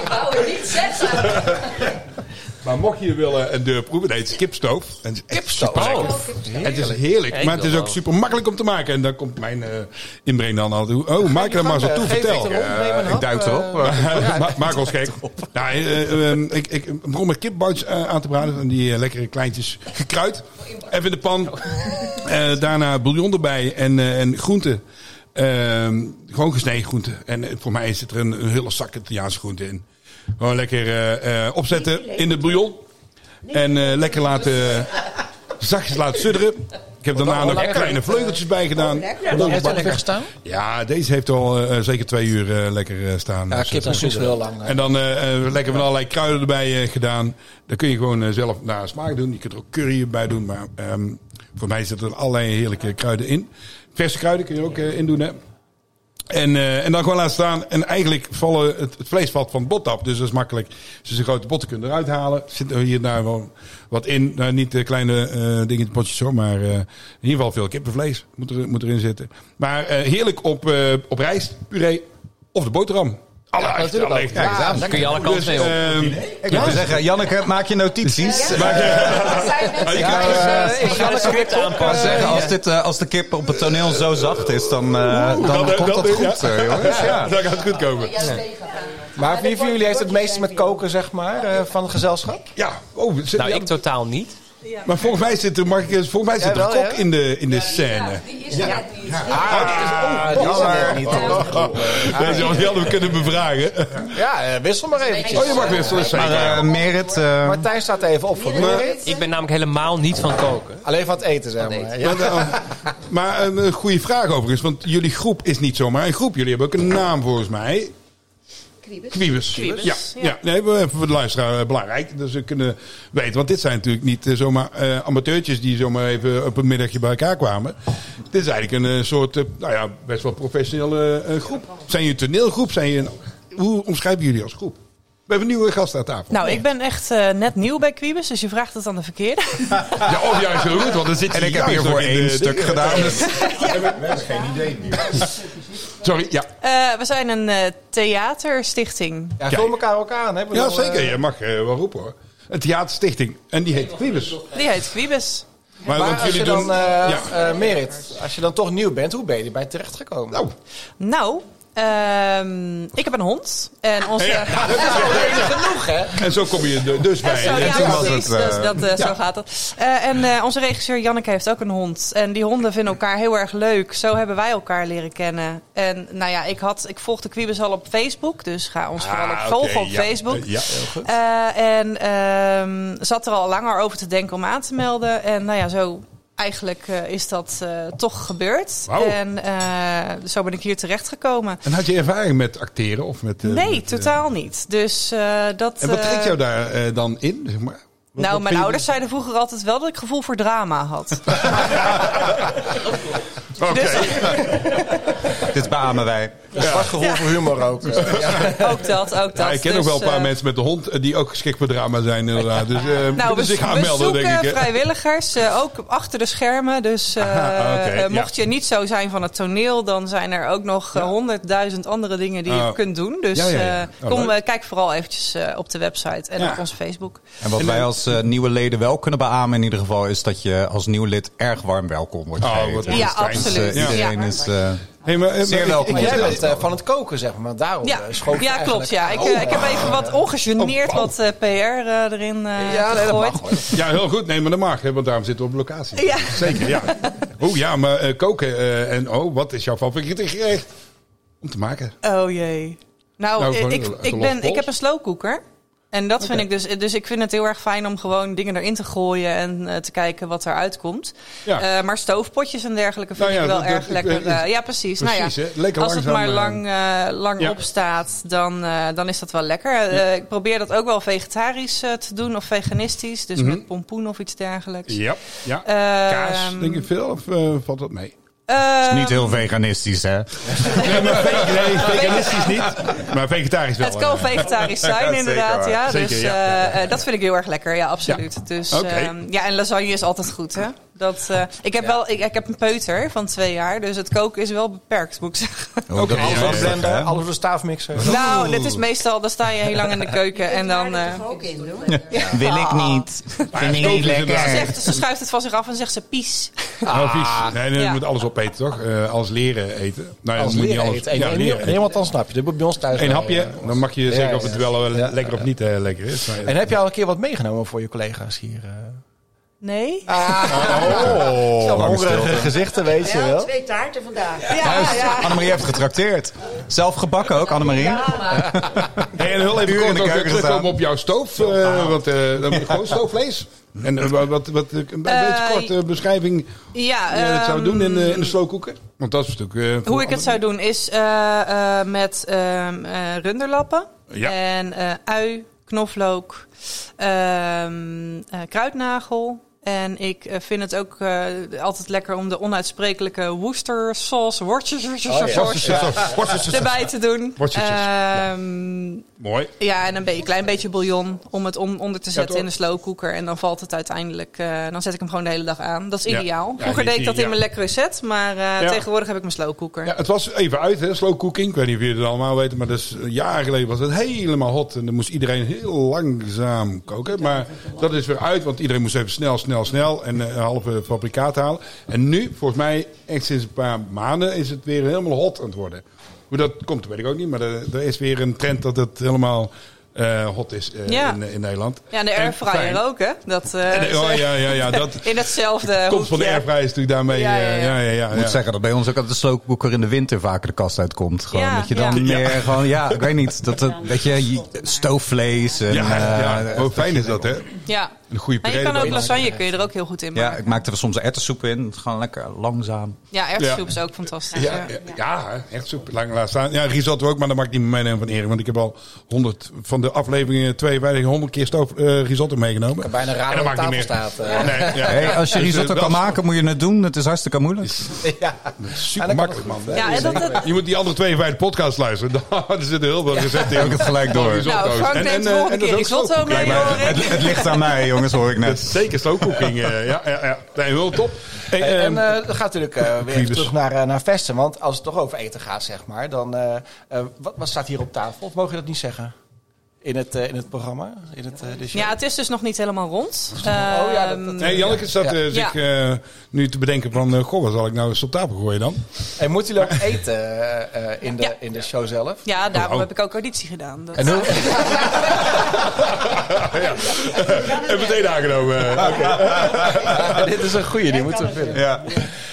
[SPEAKER 7] Ik wou er niet zeggen.
[SPEAKER 2] maar mocht je willen een deur proeven, nee, het is kipstoof. En het is echt
[SPEAKER 1] Kipstoof?
[SPEAKER 2] superlekker.
[SPEAKER 5] Oh,
[SPEAKER 2] Het is heerlijk,
[SPEAKER 5] Ik
[SPEAKER 2] maar het
[SPEAKER 5] wil
[SPEAKER 2] is ook
[SPEAKER 5] wel.
[SPEAKER 2] super makkelijk om te maken. En dan komt mijn eh, inbreng dan al toe. Oh, maak er maar
[SPEAKER 1] eh,
[SPEAKER 2] zo toe, vertel. Eh,
[SPEAKER 4] ik duik erop.
[SPEAKER 1] <laughs>
[SPEAKER 2] Ma- Maak ons gek. Nou, eh, eh, eh, ik, ik begon met kipboutjes eh, aan te braden. Van die eh, lekkere kleintjes gekruid. Even in de pan. Eh, daarna bouillon erbij en, eh, en groenten. Ehm, gewoon gesneden groenten. En eh, voor mij zit er een, een hele zak Italiaanse groenten in. Gewoon lekker eh, eh, opzetten in de bouillon. En eh, lekker laten, zachtjes laten sudderen. Ik heb daarna nog kleine vleugeltjes bij gedaan.
[SPEAKER 9] Hoe lang heeft dat gestaan?
[SPEAKER 2] Ja, deze heeft al eh, zeker twee uur eh, lekker eh, staan.
[SPEAKER 9] Ja, kip en zus heel lang.
[SPEAKER 2] En dan eh, eh, lekker van allerlei kruiden erbij eh, gedaan. Dan kun je gewoon eh, zelf naar smaak doen. Je kunt er ook curry bij doen. Maar ehm, voor mij zitten er allerlei heerlijke kruiden in. Verse kruiden kun je er ook eh, in doen, hè. En, eh, en dan gewoon laten staan. En eigenlijk vallen het, het vlees valt van het bot af. Dus dat is makkelijk. Dus de grote botten kunnen eruit halen. Zit er hier en daar wel wat in. Nou, niet de kleine eh dingetjes, potjes zo. Maar eh, in ieder geval veel kippenvlees moet, er, moet erin zitten. Maar eh, heerlijk op, eh op rijst, puree of de boterham. Alle, ja,
[SPEAKER 9] natuurlijk ook.
[SPEAKER 2] ja,
[SPEAKER 5] Dan kun je alle kanten mee op.
[SPEAKER 2] Dus,
[SPEAKER 4] Dus,
[SPEAKER 2] ehm,
[SPEAKER 4] Ik wil zeggen, Janneke, maak je notities.
[SPEAKER 7] Ja.
[SPEAKER 4] Maar,
[SPEAKER 7] Ja,
[SPEAKER 4] krijgt,
[SPEAKER 7] ja,
[SPEAKER 4] eh,
[SPEAKER 7] ja.
[SPEAKER 5] We gaan het script
[SPEAKER 4] maar
[SPEAKER 5] aanpassen.
[SPEAKER 4] zeggen, <laughs> als, dit, eh, als de kip op het toneel zo zacht is, dan, eh, dan
[SPEAKER 2] dat-
[SPEAKER 4] komt dat
[SPEAKER 2] dat-
[SPEAKER 4] goed,
[SPEAKER 2] ja.
[SPEAKER 4] eh, jongens. Ja.
[SPEAKER 2] dat gaat goed komen.
[SPEAKER 7] Ja, tegen.
[SPEAKER 1] Maar wie van jullie heeft het meeste met koken, zeg maar, eh, van gezelschap?
[SPEAKER 2] Ja, oh, zit-
[SPEAKER 5] Nou,
[SPEAKER 2] ja,
[SPEAKER 5] ik totaal niet.
[SPEAKER 2] maar volgens mij zit er, mag ik, eens- volgens mij zit er
[SPEAKER 1] Jawel,
[SPEAKER 2] een kok
[SPEAKER 1] hè?
[SPEAKER 2] in de, in de
[SPEAKER 7] Ja,
[SPEAKER 2] scène. <laughs>
[SPEAKER 7] die is ja, die is.
[SPEAKER 1] Ah, die is er niet.
[SPEAKER 2] Deze hadden we kunnen bevragen.
[SPEAKER 1] Ja, eh, wissel maar eventjes.
[SPEAKER 2] Oh, je mag weer zo
[SPEAKER 4] Maar
[SPEAKER 2] zeggen.
[SPEAKER 4] eh, Merit, eh,
[SPEAKER 1] Martijn staat even op voor Merit.
[SPEAKER 5] Ik ben namelijk helemaal niet van koken.
[SPEAKER 1] Alleen van het eten, zeg maar. Ja.
[SPEAKER 2] Maar, eh, maar een eh, goede vraag overigens, want jullie groep is niet zomaar een groep. Jullie hebben ook een naam volgens mij. Kwiebes. Ja, ja. Nee, we- even voor de luisteraar eh, belangrijk. Dus we kunnen weten, want dit zijn natuurlijk niet eh, zomaar eh, amateurtjes die zomaar even op een middagje bij elkaar kwamen. Dit is eigenlijk een eh, soort, eh, nou ja, best wel professionele eh, groep. Zijn jullie een toneelgroep? Zijn jullie een, hoe omschrijven jullie als groep? We hebben een nieuwe gast aan tafel.
[SPEAKER 10] Nou, ik ben echt eh, net nieuw bij Quibus, dus je vraagt het aan de verkeerde.
[SPEAKER 1] <laughs>
[SPEAKER 2] Ja, of juist heel goed, want dan zit
[SPEAKER 4] en
[SPEAKER 2] hij
[SPEAKER 4] ik heb
[SPEAKER 2] juist
[SPEAKER 4] hiervoor
[SPEAKER 2] nog in de-
[SPEAKER 4] één stuk
[SPEAKER 2] de-
[SPEAKER 4] gedaan. dus-
[SPEAKER 2] Sorry, ja.
[SPEAKER 10] Eh, we zijn een eh, theaterstichting.
[SPEAKER 1] Ja, vul elkaar ook aan. Hè? Ik
[SPEAKER 2] Ja,
[SPEAKER 1] bedoel,
[SPEAKER 2] zeker.
[SPEAKER 1] eh,
[SPEAKER 2] Je mag eh, wel roepen hoor. Een theaterstichting. En die heet Quibus.
[SPEAKER 10] Die heet Quibus.
[SPEAKER 2] Maar,
[SPEAKER 1] Maar
[SPEAKER 2] want
[SPEAKER 1] als je
[SPEAKER 2] jullie
[SPEAKER 1] dan,
[SPEAKER 2] doen...
[SPEAKER 1] eh,
[SPEAKER 2] ja.
[SPEAKER 1] eh, Merit, als je dan toch nieuw bent, hoe ben je erbij terechtgekomen?
[SPEAKER 2] Nou,
[SPEAKER 10] Nou, ehm, ik heb een hond. En onze...
[SPEAKER 2] Ja.
[SPEAKER 1] genoeg, hè?
[SPEAKER 2] en zo kom je er dus
[SPEAKER 10] En
[SPEAKER 2] bij.
[SPEAKER 10] zo,
[SPEAKER 2] En
[SPEAKER 10] ja,
[SPEAKER 2] toen was
[SPEAKER 10] precies.
[SPEAKER 4] het, eh,
[SPEAKER 10] dus <laughs> dat, eh, Zo gaat dat. Eh, en eh, onze regisseur Janneke heeft ook een hond. En die honden vinden elkaar heel erg leuk. Zo hebben wij elkaar leren kennen. En nou ja, ik, had, ik volgde Quibus al op Facebook. Dus ga ons vooral ook
[SPEAKER 2] Ah,
[SPEAKER 10] volgen
[SPEAKER 2] oké,
[SPEAKER 10] op
[SPEAKER 2] ja.
[SPEAKER 10] Facebook.
[SPEAKER 2] Ja, heel goed.
[SPEAKER 10] Eh, en ehm, zat er al langer over te denken om aan te melden. En nou ja, zo eigenlijk eh, is dat eh, toch gebeurd.
[SPEAKER 2] Wauw.
[SPEAKER 10] En eh, zo ben ik hier terechtgekomen.
[SPEAKER 2] En had je ervaring met acteren? Of met, eh,
[SPEAKER 10] Nee,
[SPEAKER 2] met, eh,
[SPEAKER 10] totaal niet. Dus eh, dat.
[SPEAKER 2] En wat
[SPEAKER 10] eh,
[SPEAKER 2] trekt jou daar eh, dan in? Zeg maar? Wat-
[SPEAKER 10] nou,
[SPEAKER 2] wat
[SPEAKER 10] mijn
[SPEAKER 2] vind je- dus?
[SPEAKER 10] ouders zeiden vroeger altijd wel dat ik gevoel voor drama
[SPEAKER 2] <laughs>
[SPEAKER 10] had. Dus
[SPEAKER 4] Dit beamen wij.
[SPEAKER 1] Zwart gevoel voor humor ook.
[SPEAKER 10] <laughs> ook dat, ook dat.
[SPEAKER 2] Ja, ik ken ook
[SPEAKER 10] Dus,
[SPEAKER 2] wel een paar
[SPEAKER 10] eh,
[SPEAKER 2] mensen met de hond eh, die ook geschikt voor drama zijn inderdaad. Dus eh
[SPEAKER 10] Nou,
[SPEAKER 2] moeten
[SPEAKER 10] we,
[SPEAKER 2] zich
[SPEAKER 10] we
[SPEAKER 2] aanmelden
[SPEAKER 10] zoeken
[SPEAKER 2] denk ik. hè.
[SPEAKER 10] vrijwilligers, eh, ook achter de schermen.
[SPEAKER 2] <laughs>
[SPEAKER 10] Dus eh,
[SPEAKER 2] Ah, oké,
[SPEAKER 10] eh,
[SPEAKER 2] ja.
[SPEAKER 10] mocht je niet zo zijn van het toneel, dan zijn er ook nog eh, honderdduizend andere dingen die
[SPEAKER 2] Oh.
[SPEAKER 10] je kunt doen. Dus
[SPEAKER 2] Ja, ja, ja.
[SPEAKER 10] eh,
[SPEAKER 2] Oh,
[SPEAKER 10] kom,
[SPEAKER 2] leuk.
[SPEAKER 10] eh, kijk vooral eventjes eh, op de website en
[SPEAKER 2] Ja.
[SPEAKER 10] op ons Facebook.
[SPEAKER 4] En wat wij als eh, nieuwe leden wel kunnen beamen in ieder geval... is dat je als nieuw lid erg warm welkom wordt
[SPEAKER 2] Oh,
[SPEAKER 4] geheten.
[SPEAKER 2] wat
[SPEAKER 4] Dus
[SPEAKER 10] Ja,
[SPEAKER 4] dat is, eh,
[SPEAKER 10] absoluut. Ja.
[SPEAKER 4] Iedereen
[SPEAKER 7] Ja.
[SPEAKER 4] is... eh,
[SPEAKER 2] Hey, maar, eh, maar
[SPEAKER 4] Zeer
[SPEAKER 2] ik-
[SPEAKER 4] welkom.
[SPEAKER 2] ik-
[SPEAKER 1] Jij
[SPEAKER 2] jij-
[SPEAKER 1] bent eh, van het koken, zeg maar. Daarom
[SPEAKER 10] Ja,
[SPEAKER 1] eh, schoot je
[SPEAKER 10] ja
[SPEAKER 1] eigenlijk- Oh,
[SPEAKER 10] klopt. Ja. Ik, eh, ik heb even wat ongegeneerd
[SPEAKER 2] Oh, wauw.
[SPEAKER 10] wat eh, PR eh, erin eh
[SPEAKER 1] Ja, nee, dat
[SPEAKER 10] gegooid.
[SPEAKER 1] mag hoor.
[SPEAKER 2] Ja, heel goed. Nee, maar dat mag, hè, want daarom zitten we op locatie.
[SPEAKER 10] Ja.
[SPEAKER 2] Zeker, ja. Oh ja, maar eh, koken eh, en oh, wat is jouw favoriete gerecht? Om te maken.
[SPEAKER 10] Oh jee. Nou,
[SPEAKER 2] Nou, gewoon
[SPEAKER 10] ik, ik,
[SPEAKER 2] een- een
[SPEAKER 10] ik,
[SPEAKER 2] losse
[SPEAKER 10] ben,
[SPEAKER 2] pols.
[SPEAKER 10] ik heb een slowcooker. En dat vind ik dus. Dus ik vind het heel erg fijn om gewoon dingen erin te gooien en eh, te kijken wat eruit komt.
[SPEAKER 2] Ja.
[SPEAKER 10] Eh, maar stoofpotjes en dergelijke vind
[SPEAKER 2] Nou ja,
[SPEAKER 10] ik wel
[SPEAKER 2] dat- dat-
[SPEAKER 10] erg
[SPEAKER 2] ik
[SPEAKER 10] lekker.
[SPEAKER 2] weet-
[SPEAKER 10] eh, ja, precies.
[SPEAKER 2] Precies,
[SPEAKER 10] nou
[SPEAKER 2] hè?
[SPEAKER 10] ja,
[SPEAKER 2] Lekker
[SPEAKER 10] als het
[SPEAKER 2] langzaam,
[SPEAKER 10] maar
[SPEAKER 2] eh,
[SPEAKER 10] lang, eh, lang
[SPEAKER 2] ja.
[SPEAKER 10] opstaat, dan, eh, dan is dat wel lekker. Eh, ik probeer dat ook wel vegetarisch eh, te doen of veganistisch. Dus met pompoen of iets dergelijks.
[SPEAKER 2] Ja, ja.
[SPEAKER 10] Ehm,
[SPEAKER 2] Mhm. Kaas, denk ik veel, of eh, valt dat mee?
[SPEAKER 10] Eh,
[SPEAKER 4] Niet heel veganistisch, hè?
[SPEAKER 2] Nee, maar ve- nee, veganistisch niet, maar vegetarisch wel.
[SPEAKER 10] Het kan
[SPEAKER 2] eh.
[SPEAKER 4] <laughs>
[SPEAKER 10] vegetarisch
[SPEAKER 4] Ja,
[SPEAKER 10] zijn,
[SPEAKER 4] zeker
[SPEAKER 10] inderdaad.
[SPEAKER 4] waar.
[SPEAKER 10] Ja.
[SPEAKER 2] Zeker,
[SPEAKER 10] dus
[SPEAKER 2] ja.
[SPEAKER 10] eh, eh, dat vind ik heel erg lekker, ja, absoluut. Dus,
[SPEAKER 2] Oké.
[SPEAKER 10] ehm, ja, en lasagne is altijd goed, hè? Dat, eh, ik, heb wel, ik, ik heb een peuter van twee jaar, dus het koken is wel beperkt, moet ik zeggen.
[SPEAKER 4] Ook
[SPEAKER 2] Oké,
[SPEAKER 4] Oh, dat is
[SPEAKER 2] ja,
[SPEAKER 1] Alles
[SPEAKER 4] wel
[SPEAKER 1] door de
[SPEAKER 4] lekker,
[SPEAKER 1] blender,
[SPEAKER 4] hè?
[SPEAKER 1] alles door de staafmixer.
[SPEAKER 10] <laughs> Nou, dit is meestal, dan sta je heel lang in de keuken en dan... eh,
[SPEAKER 7] ook in doen.
[SPEAKER 1] <laughs>
[SPEAKER 4] Wil ik niet.
[SPEAKER 2] Ah,
[SPEAKER 4] Vind ik niet
[SPEAKER 10] ze,
[SPEAKER 4] lekker.
[SPEAKER 10] zegt, ze schuift het van zich af en zegt ze pies.
[SPEAKER 2] Oh,
[SPEAKER 4] Ah.
[SPEAKER 1] Ah.
[SPEAKER 2] vies. Nee, nee, je
[SPEAKER 10] Ja.
[SPEAKER 2] moet alles opeten, toch? Eh, alles leren eten. Nou, ja,
[SPEAKER 1] Als
[SPEAKER 2] je moet
[SPEAKER 1] leren
[SPEAKER 2] niet alles,
[SPEAKER 1] eten.
[SPEAKER 2] Ja,
[SPEAKER 1] En- en-
[SPEAKER 2] leren eten.
[SPEAKER 1] Niemand dan snap je. Dit moet bij ons thuis.
[SPEAKER 2] Eén
[SPEAKER 1] wel,
[SPEAKER 2] hapje,
[SPEAKER 1] eh.
[SPEAKER 2] dan mag je zeggen of
[SPEAKER 1] ja,
[SPEAKER 2] het wel eh,
[SPEAKER 1] ja.
[SPEAKER 2] lekker of niet eh, lekker is. Maar-
[SPEAKER 1] En heb je al een keer wat meegenomen voor je collega's hier? eh?
[SPEAKER 10] Nee?
[SPEAKER 2] Oh,
[SPEAKER 1] Zo'n
[SPEAKER 4] lange
[SPEAKER 1] hongerige
[SPEAKER 4] stilte.
[SPEAKER 1] gezichten, weet je
[SPEAKER 8] Wel,
[SPEAKER 1] wel.
[SPEAKER 8] twee taarten vandaag.
[SPEAKER 4] Juist, Annemarie heeft getrakteerd. Zelf gebakken ook, Annemarie.
[SPEAKER 8] Ja, maar
[SPEAKER 2] Hey, en heel even
[SPEAKER 4] Uren in
[SPEAKER 2] kort
[SPEAKER 4] de
[SPEAKER 2] ook weer
[SPEAKER 4] keuken
[SPEAKER 2] terugkomen
[SPEAKER 4] gestaan.
[SPEAKER 2] op jouw stoof. eh want eh dan moet je gewoon <laughs> stoofvlees. En eh, wat, wat, wat, eh, een beetje
[SPEAKER 10] Eh,
[SPEAKER 2] kort eh, beschrijving
[SPEAKER 10] Ja,
[SPEAKER 2] hoe je dat zou
[SPEAKER 10] ehm,
[SPEAKER 2] doen
[SPEAKER 4] eh,
[SPEAKER 2] in, de in de slowcooker. Want dat is natuurlijk... eh, voor
[SPEAKER 10] Hoe ik
[SPEAKER 2] alle-
[SPEAKER 10] het zou doen is eh, eh, met ehm, eh, runderlappen
[SPEAKER 2] Ja.
[SPEAKER 10] en eh, ui, knoflook, ehm, eh, kruidnagel. En ik eh, vind het ook eh, altijd lekker om de onuitsprekelijke Worcester sauce,
[SPEAKER 1] Oh, ja.
[SPEAKER 10] erbij te doen.
[SPEAKER 2] Worcestershire,
[SPEAKER 10] Ehm,
[SPEAKER 2] Mooi.
[SPEAKER 10] ja, en een be- klein beetje bouillon om het om, onder te zetten
[SPEAKER 2] toch?
[SPEAKER 10] in de slowcooker. En dan valt het uiteindelijk, eh, dan zet ik hem gewoon de hele dag aan. Dat is
[SPEAKER 2] Ja.
[SPEAKER 10] ideaal.
[SPEAKER 2] Ja,
[SPEAKER 10] Vroeger deed ik dat
[SPEAKER 2] ja.
[SPEAKER 10] in mijn lekkere set, maar eh,
[SPEAKER 2] Ja.
[SPEAKER 10] tegenwoordig heb ik mijn slowcooker.
[SPEAKER 2] Ja, het was even uit, hè, slow cooking. Ik weet niet of jullie het allemaal weten, maar dat is, eh, jaren geleden was het helemaal hot. En dan moest iedereen heel langzaam koken. Maar dat is weer uit, want iedereen moest even snel, snel, snel. En eh, een halve fabrikaat halen. En nu, volgens mij, echt sinds een paar maanden, is het weer helemaal hot aan het worden. Hoe dat komt, weet ik ook niet. Maar er, er is weer een trend dat het helemaal eh, hot is eh,
[SPEAKER 10] Ja.
[SPEAKER 2] in, in Nederland.
[SPEAKER 10] Ja, en de
[SPEAKER 2] En fijn.
[SPEAKER 10] airfryer ook, hè? Dat, eh,
[SPEAKER 2] En de- oh, ja, ja, ja, dat
[SPEAKER 10] <laughs> In hetzelfde
[SPEAKER 2] komt van de
[SPEAKER 10] hoekje.
[SPEAKER 2] airfryer is natuurlijk daarmee.
[SPEAKER 10] Ja, ja,
[SPEAKER 2] eh,
[SPEAKER 10] ja.
[SPEAKER 2] ja, ja, ja,
[SPEAKER 4] Ik moet
[SPEAKER 2] ja.
[SPEAKER 4] zeggen dat bij ons ook altijd de slowcooker in de winter vaker de kast uitkomt. Gewoon,
[SPEAKER 10] Ja,
[SPEAKER 4] dat je dan
[SPEAKER 2] ja.
[SPEAKER 4] meer gewoon, ja, ik weet niet, dat, dat, weet je, je- stoofvlees. En,
[SPEAKER 2] Ja, ja,
[SPEAKER 4] eh,
[SPEAKER 2] Hoe fijn is dat, hè?
[SPEAKER 10] Ja.
[SPEAKER 2] Een goede
[SPEAKER 10] Maar je
[SPEAKER 2] puree
[SPEAKER 10] kan ook
[SPEAKER 2] erbij.
[SPEAKER 10] lasagne kun je er ook heel goed in
[SPEAKER 4] ja, ik
[SPEAKER 10] maken.
[SPEAKER 4] maakte er soms erwtensoep in. Gewoon lekker langzaam.
[SPEAKER 10] Ja, erwtensoep is ook fantastisch.
[SPEAKER 2] Ja,
[SPEAKER 10] Ja,
[SPEAKER 2] ja, ja, echt super lang laat staan. Ja, risotto ook, maar dat mag ik niet meer meenemen van Erik. Want ik heb al 100 van de afleveringen 52, 100 keer stoof, eh, risotto meegenomen.
[SPEAKER 9] Bijna raar
[SPEAKER 2] En dat
[SPEAKER 9] op
[SPEAKER 2] maakt niet
[SPEAKER 9] tafel
[SPEAKER 2] meer.
[SPEAKER 9] staat. eh.
[SPEAKER 2] Nee, ja,
[SPEAKER 4] Hey, als
[SPEAKER 2] Dus,
[SPEAKER 4] je
[SPEAKER 2] eh,
[SPEAKER 4] risotto
[SPEAKER 2] dat
[SPEAKER 4] kan
[SPEAKER 2] is
[SPEAKER 4] maken, moet je het doen. Het is hartstikke moeilijk.
[SPEAKER 2] <laughs> Super makkelijk, man.
[SPEAKER 10] Ja, en dat, dat,
[SPEAKER 2] Je moet die andere 52 podcast luisteren. <laughs> Daar zitten heel veel recepten in.
[SPEAKER 4] Ook het gelijk door.
[SPEAKER 2] Risotto's.
[SPEAKER 10] nou, Frank
[SPEAKER 2] En- en,
[SPEAKER 10] neemt de
[SPEAKER 2] eh,
[SPEAKER 10] volgende
[SPEAKER 2] en dat is
[SPEAKER 10] keer
[SPEAKER 2] ook
[SPEAKER 10] risotto mee,
[SPEAKER 2] slowcooking.
[SPEAKER 10] hoor ik.
[SPEAKER 4] Het, het ligt aan mij, jongens, hoor ik
[SPEAKER 2] Dat
[SPEAKER 4] net.
[SPEAKER 2] is Zeker slowcooking. eh, ja, ja, ja. Nee, heel top. Hey,
[SPEAKER 1] Hey,
[SPEAKER 2] ehm,
[SPEAKER 1] en eh, dat gaat natuurlijk eh, weer even
[SPEAKER 2] Kriebus.
[SPEAKER 1] terug naar, eh, naar vesten. Want als het toch over eten gaat, zeg maar, dan... eh, eh, wat, wat staat hier op tafel? Of mogen je dat niet zeggen? In het, eh, in het programma? In het, eh, de show?
[SPEAKER 10] ja, het is dus nog niet helemaal rond.
[SPEAKER 1] Oh, ja, dat- dat-
[SPEAKER 10] Ehm,
[SPEAKER 2] Nee, Janneke zat eh,
[SPEAKER 1] Ja.
[SPEAKER 2] zich eh, nu te bedenken van... eh, goh, wat zal ik nou eens op tafel gooien dan?
[SPEAKER 1] En
[SPEAKER 2] <laughs>
[SPEAKER 1] moeten jullie ook eten eh, eh, in, de,
[SPEAKER 10] Ja.
[SPEAKER 1] in de show zelf?
[SPEAKER 10] ja, daarom
[SPEAKER 2] Oh.
[SPEAKER 10] heb ik ook auditie gedaan. Dat-
[SPEAKER 1] En hoe,
[SPEAKER 2] En meteen aangenomen. eh.
[SPEAKER 1] <laughs> dit is een goeie, die moeten we vullen.
[SPEAKER 4] Ja.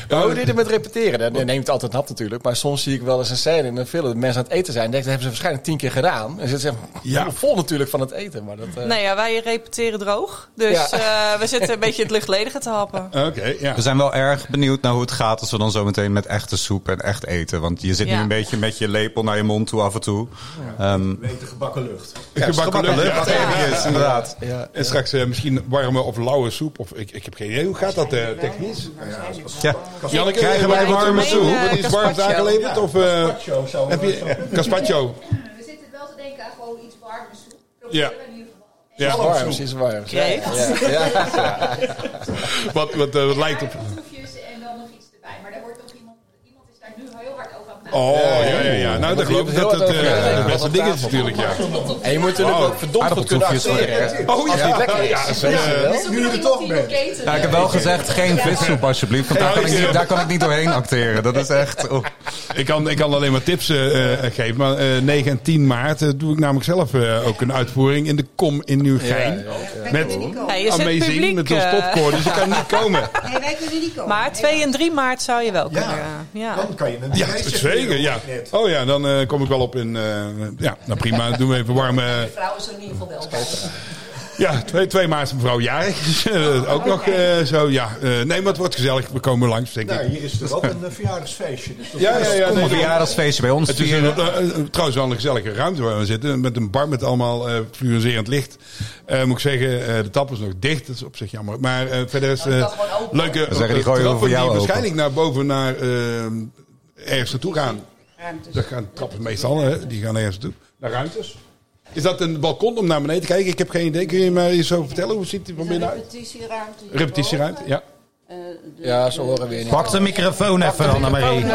[SPEAKER 1] Maar hoe deed het met repeteren? Dan neemt het altijd een hap natuurlijk. Maar soms zie ik wel eens een scène in een film dat mensen aan het eten zijn. Denk, dat hebben ze waarschijnlijk tien keer gedaan. En ze zitten
[SPEAKER 2] Ja.
[SPEAKER 1] ja. vol natuurlijk van het eten. Maar dat, eh,
[SPEAKER 10] Nou ja, wij repeteren droog. Dus eh, we zitten een beetje het luchtledige te happen.
[SPEAKER 2] Oké, ja.
[SPEAKER 4] We zijn wel erg benieuwd naar hoe het gaat als we dan zo meteen met echte soep en echt eten. Want je zit nu
[SPEAKER 10] Ja.
[SPEAKER 4] een beetje met je lepel naar je mond toe af en toe. Ehm,
[SPEAKER 2] Gebakken lucht.
[SPEAKER 4] lucht, eventjes, inderdaad.
[SPEAKER 1] ja.
[SPEAKER 2] En straks eh, misschien warme of lauwe soep. Of, ik, ik heb geen idee. Hoe gaat dat eh, technisch?
[SPEAKER 4] Ja.
[SPEAKER 2] Janneke,
[SPEAKER 4] Krijgen wij
[SPEAKER 2] eh,
[SPEAKER 4] warme soep?
[SPEAKER 2] Wordt iets warms
[SPEAKER 10] Caspacho.
[SPEAKER 2] aangeleverd? Of, eh, heb je, Caspacho.
[SPEAKER 7] We zitten wel te denken aan gewoon iets warme soep.
[SPEAKER 2] Ja.
[SPEAKER 7] Proberen we in ieder geval.
[SPEAKER 2] Ja,
[SPEAKER 1] warms is warm. Ja,
[SPEAKER 10] Kreeft.
[SPEAKER 1] ja, ja.
[SPEAKER 2] <laughs> wat, wat, eh, wat
[SPEAKER 7] Maar
[SPEAKER 2] lijkt op...
[SPEAKER 7] wat Soepjes en dan nog iets erbij. Maar daar wordt nog iemand... Iemand is daar nu heel hard over aan het maken.
[SPEAKER 2] Oh, ja, ja, ja. Nou, dan
[SPEAKER 1] Moet
[SPEAKER 2] geloof ik
[SPEAKER 1] je heel
[SPEAKER 2] dat het
[SPEAKER 1] wat over-
[SPEAKER 2] eh, het
[SPEAKER 1] ja.
[SPEAKER 2] beste ding is natuurlijk, ja.
[SPEAKER 1] En je moet natuurlijk ook verdomd goed kunnen
[SPEAKER 4] Aardappeltoefjes voor de
[SPEAKER 1] acteren.
[SPEAKER 2] Oh, ja.
[SPEAKER 1] Als het lekker is.
[SPEAKER 2] Ja,
[SPEAKER 1] Weet
[SPEAKER 2] zeker.
[SPEAKER 1] je wel.
[SPEAKER 7] We zoeken
[SPEAKER 8] Nu je
[SPEAKER 7] nog
[SPEAKER 8] er
[SPEAKER 7] iemand
[SPEAKER 8] toch
[SPEAKER 7] die wil
[SPEAKER 8] bent.
[SPEAKER 7] cateren.
[SPEAKER 4] Ja, ik heb wel gezegd, geen vissoep alsjeblieft. Want daar kan, ik niet, daar kan ik niet doorheen acteren. Dat is echt... oh.
[SPEAKER 2] Ik kan, ik kan alleen maar tips eh, eh, geven. Maar eh 9 en 10 maart eh, doe ik namelijk zelf eh, ook een uitvoering in de Kom in Nieuwgein. Met
[SPEAKER 10] Ja, je zit
[SPEAKER 2] Amazing,
[SPEAKER 10] publiek,
[SPEAKER 2] met ons
[SPEAKER 10] eh.
[SPEAKER 2] popcorn. Dus ik kan niet
[SPEAKER 10] <laughs>
[SPEAKER 2] komen.
[SPEAKER 8] <laughs> Nee, wij kunnen niet komen.
[SPEAKER 10] Maar 2 en 3 maart zou je wel
[SPEAKER 11] Ja.
[SPEAKER 10] kunnen. eh, Ja.
[SPEAKER 11] Dan kan je een
[SPEAKER 2] Ja,
[SPEAKER 11] lijstje
[SPEAKER 2] zeker.
[SPEAKER 11] creëren,
[SPEAKER 2] Ja.
[SPEAKER 11] of niet.
[SPEAKER 2] Oh ja, dan eh, kom ik wel op in. eh, ja, nou prima. Dan doen we even warm. eh,
[SPEAKER 7] Vrouwen zijn in ieder geval wel bij.
[SPEAKER 2] ja, 2, 2 maart is mevrouw jarig. <laughs> Dus, eh, dat ook nog eh, zo. Ja. Eh, nee, maar het wordt gezellig. We komen langs, denk
[SPEAKER 11] Nou,
[SPEAKER 2] ik.
[SPEAKER 11] hier is er ook een eh, verjaardagsfeestje. Dus dat
[SPEAKER 2] Ja, ja, ja.
[SPEAKER 4] Kom
[SPEAKER 2] nee,
[SPEAKER 4] een verjaardagsfeestje bij ons
[SPEAKER 2] Het is een,
[SPEAKER 4] vieren.
[SPEAKER 2] eh, eh, trouwens wel een gezellige ruimte waar we zitten. Met een bar met allemaal eh fluoriserend licht. Eh, moet ik zeggen, eh, de tap is nog dicht. Dat is op zich jammer. Maar eh, verder is eh, leuke
[SPEAKER 4] zeggen, die gooien we voor
[SPEAKER 2] trappen
[SPEAKER 4] jou
[SPEAKER 2] die
[SPEAKER 4] open.
[SPEAKER 2] waarschijnlijk naar boven naar eh, ergens naartoe gaan. Dat gaan trappen meestal, hè? die gaan ergens naartoe. Naar ruimtes. Is dat een balkon om naar beneden te kijken? Ik heb geen idee. Kun je mij eens zo vertellen? Hoe ziet die van binnen uit?
[SPEAKER 7] Repetitieruimte.
[SPEAKER 2] Repetitieruimte, ja.
[SPEAKER 1] Ja, ze horen weer niet.
[SPEAKER 4] Pak de microfoon even, Annemarie.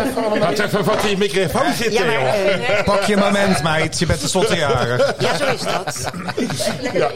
[SPEAKER 2] Laat even wat in je microfoon
[SPEAKER 8] ja,
[SPEAKER 2] zitten,
[SPEAKER 8] maar,
[SPEAKER 2] joh.
[SPEAKER 8] eh,
[SPEAKER 4] Pak je moment, meid. Je bent tenslotte jarig.
[SPEAKER 8] ja, zo is dat.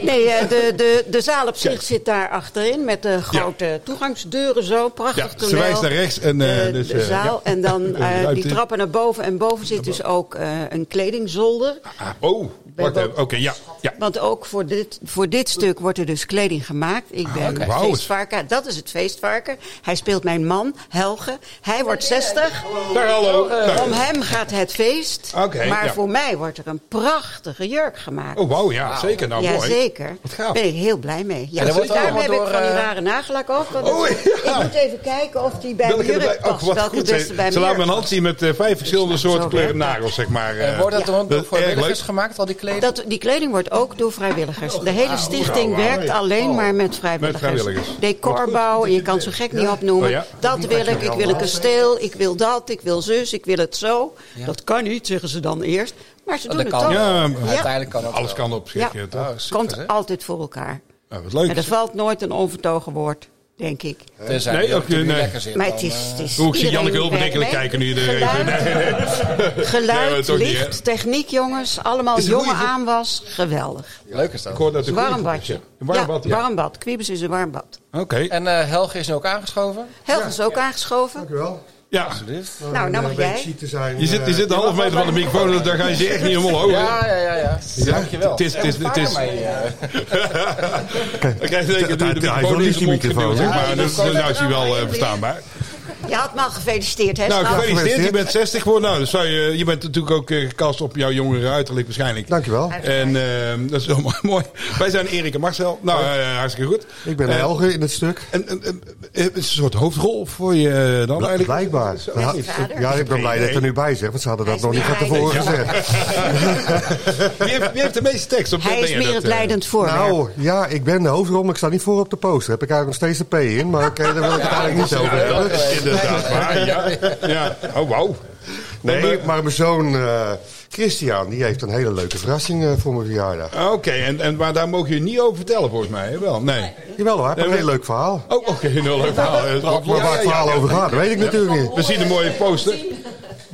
[SPEAKER 8] Nee, eh, de, de, de zaal op zich zit daar achterin met de grote toegangsdeuren zo.
[SPEAKER 2] Ja,
[SPEAKER 8] Prachtig
[SPEAKER 2] ze
[SPEAKER 8] toneel.
[SPEAKER 2] wijst naar rechts. En, eh,
[SPEAKER 8] de,
[SPEAKER 2] dus,
[SPEAKER 8] de
[SPEAKER 2] eh,
[SPEAKER 8] zaal
[SPEAKER 2] ja.
[SPEAKER 8] en dan
[SPEAKER 2] <laughs> Een
[SPEAKER 8] eh, die
[SPEAKER 2] ruimte.
[SPEAKER 8] trappen naar boven. En boven zit dus ook eh, een kledingzolder.
[SPEAKER 2] Ah, oh,
[SPEAKER 8] ben
[SPEAKER 2] Wacht even,
[SPEAKER 8] ook-
[SPEAKER 2] Oké, ja. ja.
[SPEAKER 8] Want ook voor dit, voor dit stuk wordt er dus kleding gemaakt. Ik ben
[SPEAKER 2] Ah, oké.
[SPEAKER 8] het
[SPEAKER 2] Wauw.
[SPEAKER 8] feestvarken. Dat is het feestvarken. Hij speelt mijn man, Helge. Hij wordt 60.
[SPEAKER 2] Daar, hallo. Daar.
[SPEAKER 8] Om hem gaat het feest.
[SPEAKER 2] Oké,
[SPEAKER 8] maar
[SPEAKER 2] ja.
[SPEAKER 8] voor mij wordt er een prachtige jurk gemaakt.
[SPEAKER 2] Oh, wauw, ja, zeker. Nou, mooi.
[SPEAKER 8] Jazeker.
[SPEAKER 2] Wat
[SPEAKER 8] Daar
[SPEAKER 2] gaaf.
[SPEAKER 8] ben ik heel blij mee. Ja, dus
[SPEAKER 2] En dat wordt
[SPEAKER 8] daarmee
[SPEAKER 2] allemaal
[SPEAKER 8] heb ik
[SPEAKER 2] door,
[SPEAKER 8] van die
[SPEAKER 2] eh,
[SPEAKER 8] rare nagellak ook. want
[SPEAKER 2] Oh,
[SPEAKER 8] het- Ik moet even kijken of die bij
[SPEAKER 2] Welke
[SPEAKER 8] mijn
[SPEAKER 2] erbij-
[SPEAKER 8] jurk
[SPEAKER 2] Oh,
[SPEAKER 8] past.
[SPEAKER 2] wat
[SPEAKER 8] welke
[SPEAKER 2] goed.
[SPEAKER 8] het beste bij
[SPEAKER 2] Ze, ze
[SPEAKER 8] mijn
[SPEAKER 2] laten me
[SPEAKER 8] jurk
[SPEAKER 2] een hand zien met eh, vijf verschillende soorten kleuren nagels, zeg maar. eh.
[SPEAKER 8] En wordt dat dan
[SPEAKER 2] is
[SPEAKER 8] door
[SPEAKER 2] erg
[SPEAKER 8] vrijwilligers
[SPEAKER 2] leuk.
[SPEAKER 1] Gemaakt al die kleding. Oh,
[SPEAKER 8] Dat, die kleding wordt ook door vrijwilligers. De hele stichting
[SPEAKER 2] wauw.
[SPEAKER 8] werkt alleen maar met vrijwilligers.
[SPEAKER 2] Met vrijwilligers.
[SPEAKER 8] Decor
[SPEAKER 1] Oh,
[SPEAKER 8] bouwen, je kan zo gek niet opnoemen.
[SPEAKER 2] Oh ja?
[SPEAKER 8] Dat wil ik, ik wil een kasteel, ik wil dat, ik wil zus, ik wil het zo.
[SPEAKER 1] Ja.
[SPEAKER 8] Dat kan niet, zeggen ze dan eerst. Maar ze
[SPEAKER 1] Oh,
[SPEAKER 8] doen
[SPEAKER 1] dat
[SPEAKER 8] het
[SPEAKER 1] kan
[SPEAKER 8] toch.
[SPEAKER 1] wel. Ja,
[SPEAKER 8] Ja.
[SPEAKER 1] uiteindelijk kan dat
[SPEAKER 2] Alles
[SPEAKER 1] wel. Oh,
[SPEAKER 2] kan op zich,
[SPEAKER 8] Ja.
[SPEAKER 2] eh, toch?
[SPEAKER 8] Komt altijd voor elkaar.
[SPEAKER 2] Nou, wat leuk.
[SPEAKER 8] En er valt nooit een onvertogen woord, denk ik.
[SPEAKER 1] Tenzij
[SPEAKER 2] Nee,
[SPEAKER 1] je
[SPEAKER 2] ook,
[SPEAKER 1] er nu
[SPEAKER 2] nee.
[SPEAKER 1] lekker zit.
[SPEAKER 8] Maar
[SPEAKER 1] dan,
[SPEAKER 8] het is...
[SPEAKER 1] eh,
[SPEAKER 8] het is
[SPEAKER 2] Hoe ik zie
[SPEAKER 8] iedereen
[SPEAKER 2] Janneke heel
[SPEAKER 8] die werkt
[SPEAKER 2] bedenkelijk
[SPEAKER 8] mee.
[SPEAKER 2] kijken nu je er even...
[SPEAKER 8] Geluid,
[SPEAKER 2] Nee, nee. Nee, maar
[SPEAKER 8] Geluid,
[SPEAKER 2] toch niet,
[SPEAKER 8] licht,
[SPEAKER 2] hè?
[SPEAKER 8] techniek jongens. Allemaal
[SPEAKER 2] Is een goeie
[SPEAKER 8] jonge
[SPEAKER 2] vo-
[SPEAKER 8] aanwas. Geweldig.
[SPEAKER 1] Leuk is dat.
[SPEAKER 2] Ik hoor dat de
[SPEAKER 8] Warm
[SPEAKER 2] koeien-
[SPEAKER 8] badje.
[SPEAKER 2] Een warm bad, ja.
[SPEAKER 8] warm bad. Kwiebes is een warm bad.
[SPEAKER 2] Oké.
[SPEAKER 1] En eh, Helge is nu ook aangeschoven.
[SPEAKER 8] Helga is ook aangeschoven.
[SPEAKER 11] Dank u wel.
[SPEAKER 2] Ja,
[SPEAKER 8] Nou, nou mag jij.
[SPEAKER 2] je zit, je zit een half meter van de microfoon, dus daar ga je ze
[SPEAKER 12] <laughs>
[SPEAKER 1] <laughs>
[SPEAKER 2] echt niet omhoog. hè?
[SPEAKER 1] eh. Ja, ja, ja. ja. Dankjewel.
[SPEAKER 2] Het is- het is- het is-
[SPEAKER 1] Ervaar mij,
[SPEAKER 2] <laughs>
[SPEAKER 1] eh.
[SPEAKER 2] Dan krijg je zeker
[SPEAKER 12] Hij-
[SPEAKER 2] de
[SPEAKER 12] hij heeft
[SPEAKER 2] microfoon
[SPEAKER 12] wel
[SPEAKER 2] in
[SPEAKER 12] niet
[SPEAKER 2] zijn
[SPEAKER 12] die
[SPEAKER 2] mond
[SPEAKER 12] microfoon,
[SPEAKER 2] geduwd, zeg
[SPEAKER 12] hè?
[SPEAKER 2] maar dat is- nou is hij wel eh, verstaanbaar.
[SPEAKER 8] Je had me al gefeliciteerd, hè?
[SPEAKER 2] Nou,
[SPEAKER 8] Stan?
[SPEAKER 2] gefeliciteerd. Je bent 60 geworden. Nou, dus zou je, je bent natuurlijk ook eh, gekast op jouw jongere uiterlijk waarschijnlijk.
[SPEAKER 12] Dankjewel.
[SPEAKER 2] En ehm, dat is wel <laughs> mooi, mooi. Wij zijn Erik en Marcel. Nou, eh, hartstikke goed.
[SPEAKER 12] Ik ben
[SPEAKER 2] Eh, <laughs>
[SPEAKER 12] Helge in het stuk.
[SPEAKER 2] En, en, en, eh, het is een soort hoofdrol voor je eh, dan
[SPEAKER 12] Bl-
[SPEAKER 2] eigenlijk?
[SPEAKER 12] Blijkbaar.
[SPEAKER 8] is
[SPEAKER 12] Ja,
[SPEAKER 8] het vader?
[SPEAKER 12] Ja, ik ben blij dat ik er nu bij zeg, want ze hadden
[SPEAKER 8] Hij
[SPEAKER 12] dat
[SPEAKER 8] is
[SPEAKER 12] nog niet
[SPEAKER 8] blij.
[SPEAKER 12] van tevoren gezegd.
[SPEAKER 2] <laughs> Wie heeft, wie heeft de meeste tekst? Op
[SPEAKER 8] Hij is meer het leidend voorwerp.
[SPEAKER 12] Nou, ja, ik ben de hoofdrol, maar ik sta niet voor op de poster. Heb ik eigenlijk nog steeds een P in, maar oké, daar wil ik het
[SPEAKER 2] <laughs>
[SPEAKER 12] eigenlijk niet over hebben.
[SPEAKER 2] dat is inderdaad waar, ja. ja. Oh, wauw.
[SPEAKER 12] Nee, maar mijn zoon eh, Christian, die heeft een hele leuke verrassing eh, voor mijn verjaardag.
[SPEAKER 2] Oké, en, en, maar daar mogen jullie niet over vertellen volgens mij, hè? wel? Nee.
[SPEAKER 12] Jawel hoor, hij heeft een
[SPEAKER 2] Nee,
[SPEAKER 12] heel leuk verhaal.
[SPEAKER 2] Oh, oké, nul leuk verhaal. Eh,
[SPEAKER 12] Maar waar het verhaal over gaat, weet ik natuurlijk niet.
[SPEAKER 2] We zien een mooie poster.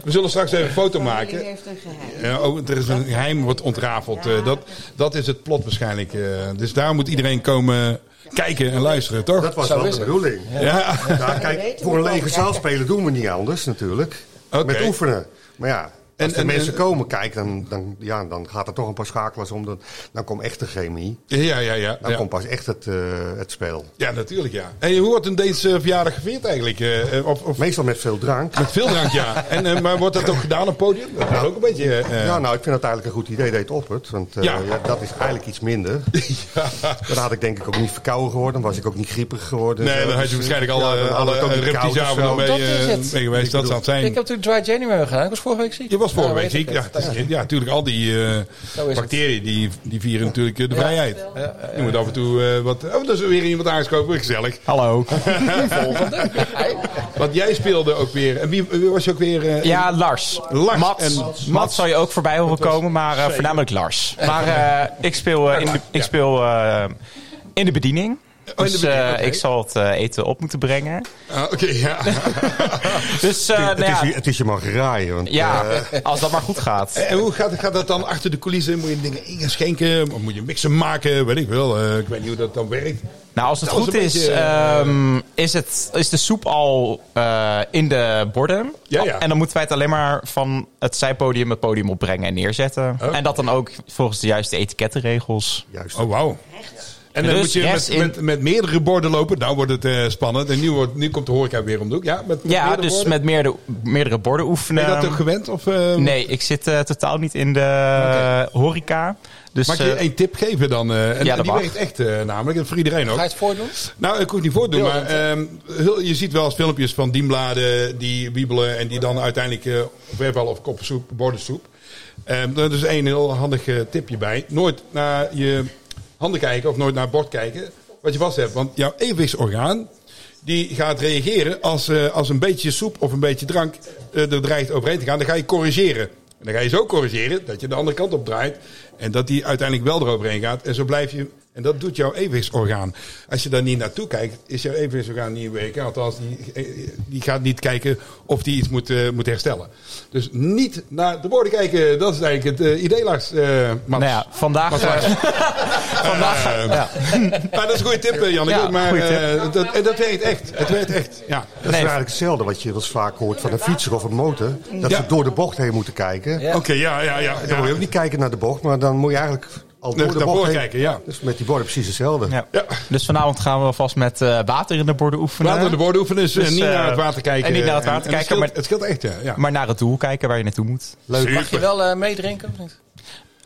[SPEAKER 2] We zullen straks even een foto maken.
[SPEAKER 8] heeft een geheim.
[SPEAKER 2] Ja, oh, er is een geheim wordt ontrafeld. Eh, dat, dat is het plot waarschijnlijk. eh. dus daar moet iedereen komen kijken en luisteren, toch?
[SPEAKER 12] Dat was wel
[SPEAKER 1] is
[SPEAKER 12] de
[SPEAKER 1] het.
[SPEAKER 12] bedoeling.
[SPEAKER 2] ja.
[SPEAKER 12] Ja, kijk, voor een lege zaal spelen doen we niet anders natuurlijk.
[SPEAKER 2] Oké.
[SPEAKER 12] Met oefenen. Maar ja, als
[SPEAKER 2] En-
[SPEAKER 12] de
[SPEAKER 2] en-
[SPEAKER 12] mensen
[SPEAKER 2] en-
[SPEAKER 12] komen kijken, dan, dan, ja, dan gaat er toch een paar schakelaars om. Dan, dan komt echt de chemie.
[SPEAKER 2] Ja, ja, ja.
[SPEAKER 12] Dan
[SPEAKER 2] ja.
[SPEAKER 12] komt pas echt het, eh, het spel.
[SPEAKER 2] Ja, natuurlijk, ja. En hoe wordt een deze verjaardag gevierd eigenlijk? Eh, eh, of, of
[SPEAKER 12] Meestal met veel drank.
[SPEAKER 2] met veel drank, ja. En, eh, maar wordt
[SPEAKER 12] <laughs>
[SPEAKER 2] dat ook gedaan op het podium? Dat is ook een beetje... eh,
[SPEAKER 12] ja, nou, ik vind dat eigenlijk een goed idee dat je het oppert. Want eh,
[SPEAKER 2] Ja.
[SPEAKER 12] ja. dat is eigenlijk iets minder.
[SPEAKER 2] <laughs> ja.
[SPEAKER 12] Dan had ik denk ik ook niet verkouden geworden. Dan was ik ook niet griepig geworden. en
[SPEAKER 2] Nee,
[SPEAKER 12] zo.
[SPEAKER 2] dan had
[SPEAKER 12] Dus,
[SPEAKER 2] je
[SPEAKER 12] eh,
[SPEAKER 2] waarschijnlijk
[SPEAKER 12] ja,
[SPEAKER 2] alle,
[SPEAKER 12] dan had
[SPEAKER 2] alle
[SPEAKER 12] ik ook niet koud of
[SPEAKER 2] reptielzaven
[SPEAKER 12] zo.
[SPEAKER 2] al mee,
[SPEAKER 1] Dat is
[SPEAKER 2] eh,
[SPEAKER 1] het.
[SPEAKER 2] mee geweest. Dat zal het zijn.
[SPEAKER 1] Ik heb natuurlijk Dry January gedaan. Ik was vorige week ziek.
[SPEAKER 2] Je was vorige
[SPEAKER 1] Ja,
[SPEAKER 2] week
[SPEAKER 1] weet
[SPEAKER 2] ziek.
[SPEAKER 1] ik
[SPEAKER 2] Ja,
[SPEAKER 1] het.
[SPEAKER 2] het is- ja, natuurlijk. Al die eh,
[SPEAKER 1] Zo is het.
[SPEAKER 2] bacteriën die, die vieren natuurlijk eh, de vrijheid. Je moet af en toe eh, wat... Oh, dat is weer iemand aangeschoven. Gezellig. <laughs>
[SPEAKER 4] Hallo.
[SPEAKER 2] Want jij speelde ook weer... En wie, wie was je ook weer... eh,
[SPEAKER 13] Ja, Lars.
[SPEAKER 2] Lars
[SPEAKER 13] Mats.
[SPEAKER 2] en-
[SPEAKER 13] Mats. zou je ook voorbij horen komen, maar eh, voornamelijk Lars. Maar eh, ik speel, eh, in, de, ik speel eh, in de bediening.
[SPEAKER 2] in de
[SPEAKER 13] Dus eh,
[SPEAKER 2] bediening, oké.
[SPEAKER 13] ik zal het eh, eten op moeten brengen.
[SPEAKER 2] Ah, Oké,
[SPEAKER 1] <laughs>
[SPEAKER 2] ja.
[SPEAKER 13] Dus eh,
[SPEAKER 12] Het
[SPEAKER 13] nou
[SPEAKER 12] is,
[SPEAKER 13] ja,
[SPEAKER 12] je- het is je maar Eh, geraaien. Want,
[SPEAKER 13] ja, als dat maar goed gaat.
[SPEAKER 2] En hoe gaat, gaat dat dan achter de coulissen? Moet je dingen ingeschenken? Of moet je mixen maken? Weet ik wel. eh, ik weet niet hoe dat dan werkt.
[SPEAKER 13] Nou, als het
[SPEAKER 2] Dat was
[SPEAKER 13] goed
[SPEAKER 2] een
[SPEAKER 13] is,
[SPEAKER 2] beetje, eh,
[SPEAKER 13] ehm, is, het, is de soep al eh, in de borden.
[SPEAKER 2] Ja, ja.
[SPEAKER 13] En dan moeten wij het alleen maar van het zijpodium het podium opbrengen en neerzetten.
[SPEAKER 2] Oké.
[SPEAKER 13] En dat dan ook volgens de juiste etikettenregels.
[SPEAKER 12] Juist.
[SPEAKER 2] Oh, wauw. En dan
[SPEAKER 13] Dus
[SPEAKER 2] moet je
[SPEAKER 13] rechts
[SPEAKER 2] met,
[SPEAKER 13] in-
[SPEAKER 2] met, met meerdere borden lopen. Nou wordt het eh, spannend. En nu, wordt, nu komt de horeca weer om de hoek. Ja, met, met
[SPEAKER 13] Ja,
[SPEAKER 2] meerdere
[SPEAKER 13] dus
[SPEAKER 2] borden?
[SPEAKER 13] met meerdere, meerdere borden oefenen.
[SPEAKER 2] Ben je dat ook gewend? Of, eh,
[SPEAKER 13] Nee, ik zit eh, totaal niet in de eh, horeca. Dus
[SPEAKER 2] Mag ik je
[SPEAKER 13] eh,
[SPEAKER 2] één tip geven dan? eh, en,
[SPEAKER 13] Ja,
[SPEAKER 2] en
[SPEAKER 13] dat
[SPEAKER 2] die
[SPEAKER 13] mag.
[SPEAKER 2] werkt echt eh, namelijk. En voor iedereen ook.
[SPEAKER 1] Ga je het voordoen?
[SPEAKER 2] Nou, ik hoef het niet voordoen, maar ehm, heel- je ziet wel eens filmpjes van dienbladen die wiebelen en die dan uiteindelijk eh weerballen of koppensoep, bordensoep. Ehm dat is één heel handig eh, tipje bij. Nooit naar je handen kijken of nooit naar het bord kijken, wat je vast hebt. Want jouw evenwichtsorgaan, die gaat reageren als, eh, als een beetje soep of een beetje drank eh, er dreigt overheen te gaan. Dan ga je corrigeren. En dan ga je zo corrigeren dat je de andere kant op draait en dat die uiteindelijk wel eroverheen gaat. En zo blijf je En dat doet jouw evenwichtsorgaan. Als je daar niet naartoe kijkt, is jouw evenwichtsorgaan niet in werking. Althans, die, eh, die gaat niet kijken of die iets moet, eh, moet herstellen. Dus niet naar de borden kijken. Dat is eigenlijk het eh, idee, Lars. eh, Mats.
[SPEAKER 13] Nou ja, vandaag,
[SPEAKER 2] Mats
[SPEAKER 13] eh,
[SPEAKER 2] Lars.
[SPEAKER 13] <laughs> vandaag,
[SPEAKER 2] Eh,
[SPEAKER 13] ja.
[SPEAKER 2] Maar dat is een goede tip, eh, Janneke.
[SPEAKER 13] Ja,
[SPEAKER 2] maar
[SPEAKER 13] goeie tip.
[SPEAKER 2] eh, dat, en dat werkt echt. Het werkt echt. Ja.
[SPEAKER 12] Dat is eigenlijk hetzelfde wat je wel eens vaak hoort van een fietser of een motor. Dat
[SPEAKER 2] Ja.
[SPEAKER 12] ze door de bocht heen moeten kijken.
[SPEAKER 2] Ja. Oké, ja, ja, ja,
[SPEAKER 12] Dan
[SPEAKER 2] ja.
[SPEAKER 12] moet je ook niet kijken naar de bocht, maar dan moet je eigenlijk al door
[SPEAKER 2] Nee,
[SPEAKER 12] de bocht
[SPEAKER 2] daarvoor
[SPEAKER 12] heen.
[SPEAKER 2] kijken, ja.
[SPEAKER 12] Dus met die borden precies hetzelfde.
[SPEAKER 13] Dus vanavond gaan we vast met eh, water in de borden oefenen.
[SPEAKER 2] Water in de borden oefenen is, eh, niet
[SPEAKER 13] eh,
[SPEAKER 2] naar het water kijken.
[SPEAKER 13] En niet naar het
[SPEAKER 2] En-
[SPEAKER 13] water
[SPEAKER 2] en het
[SPEAKER 13] kijken,
[SPEAKER 2] scheelt-
[SPEAKER 13] maar
[SPEAKER 2] het scheelt echt, ja, ja.
[SPEAKER 13] Maar naar het doel kijken waar je naartoe moet.
[SPEAKER 2] Leuk.
[SPEAKER 1] Mag je wel eh, meedrinken of niet?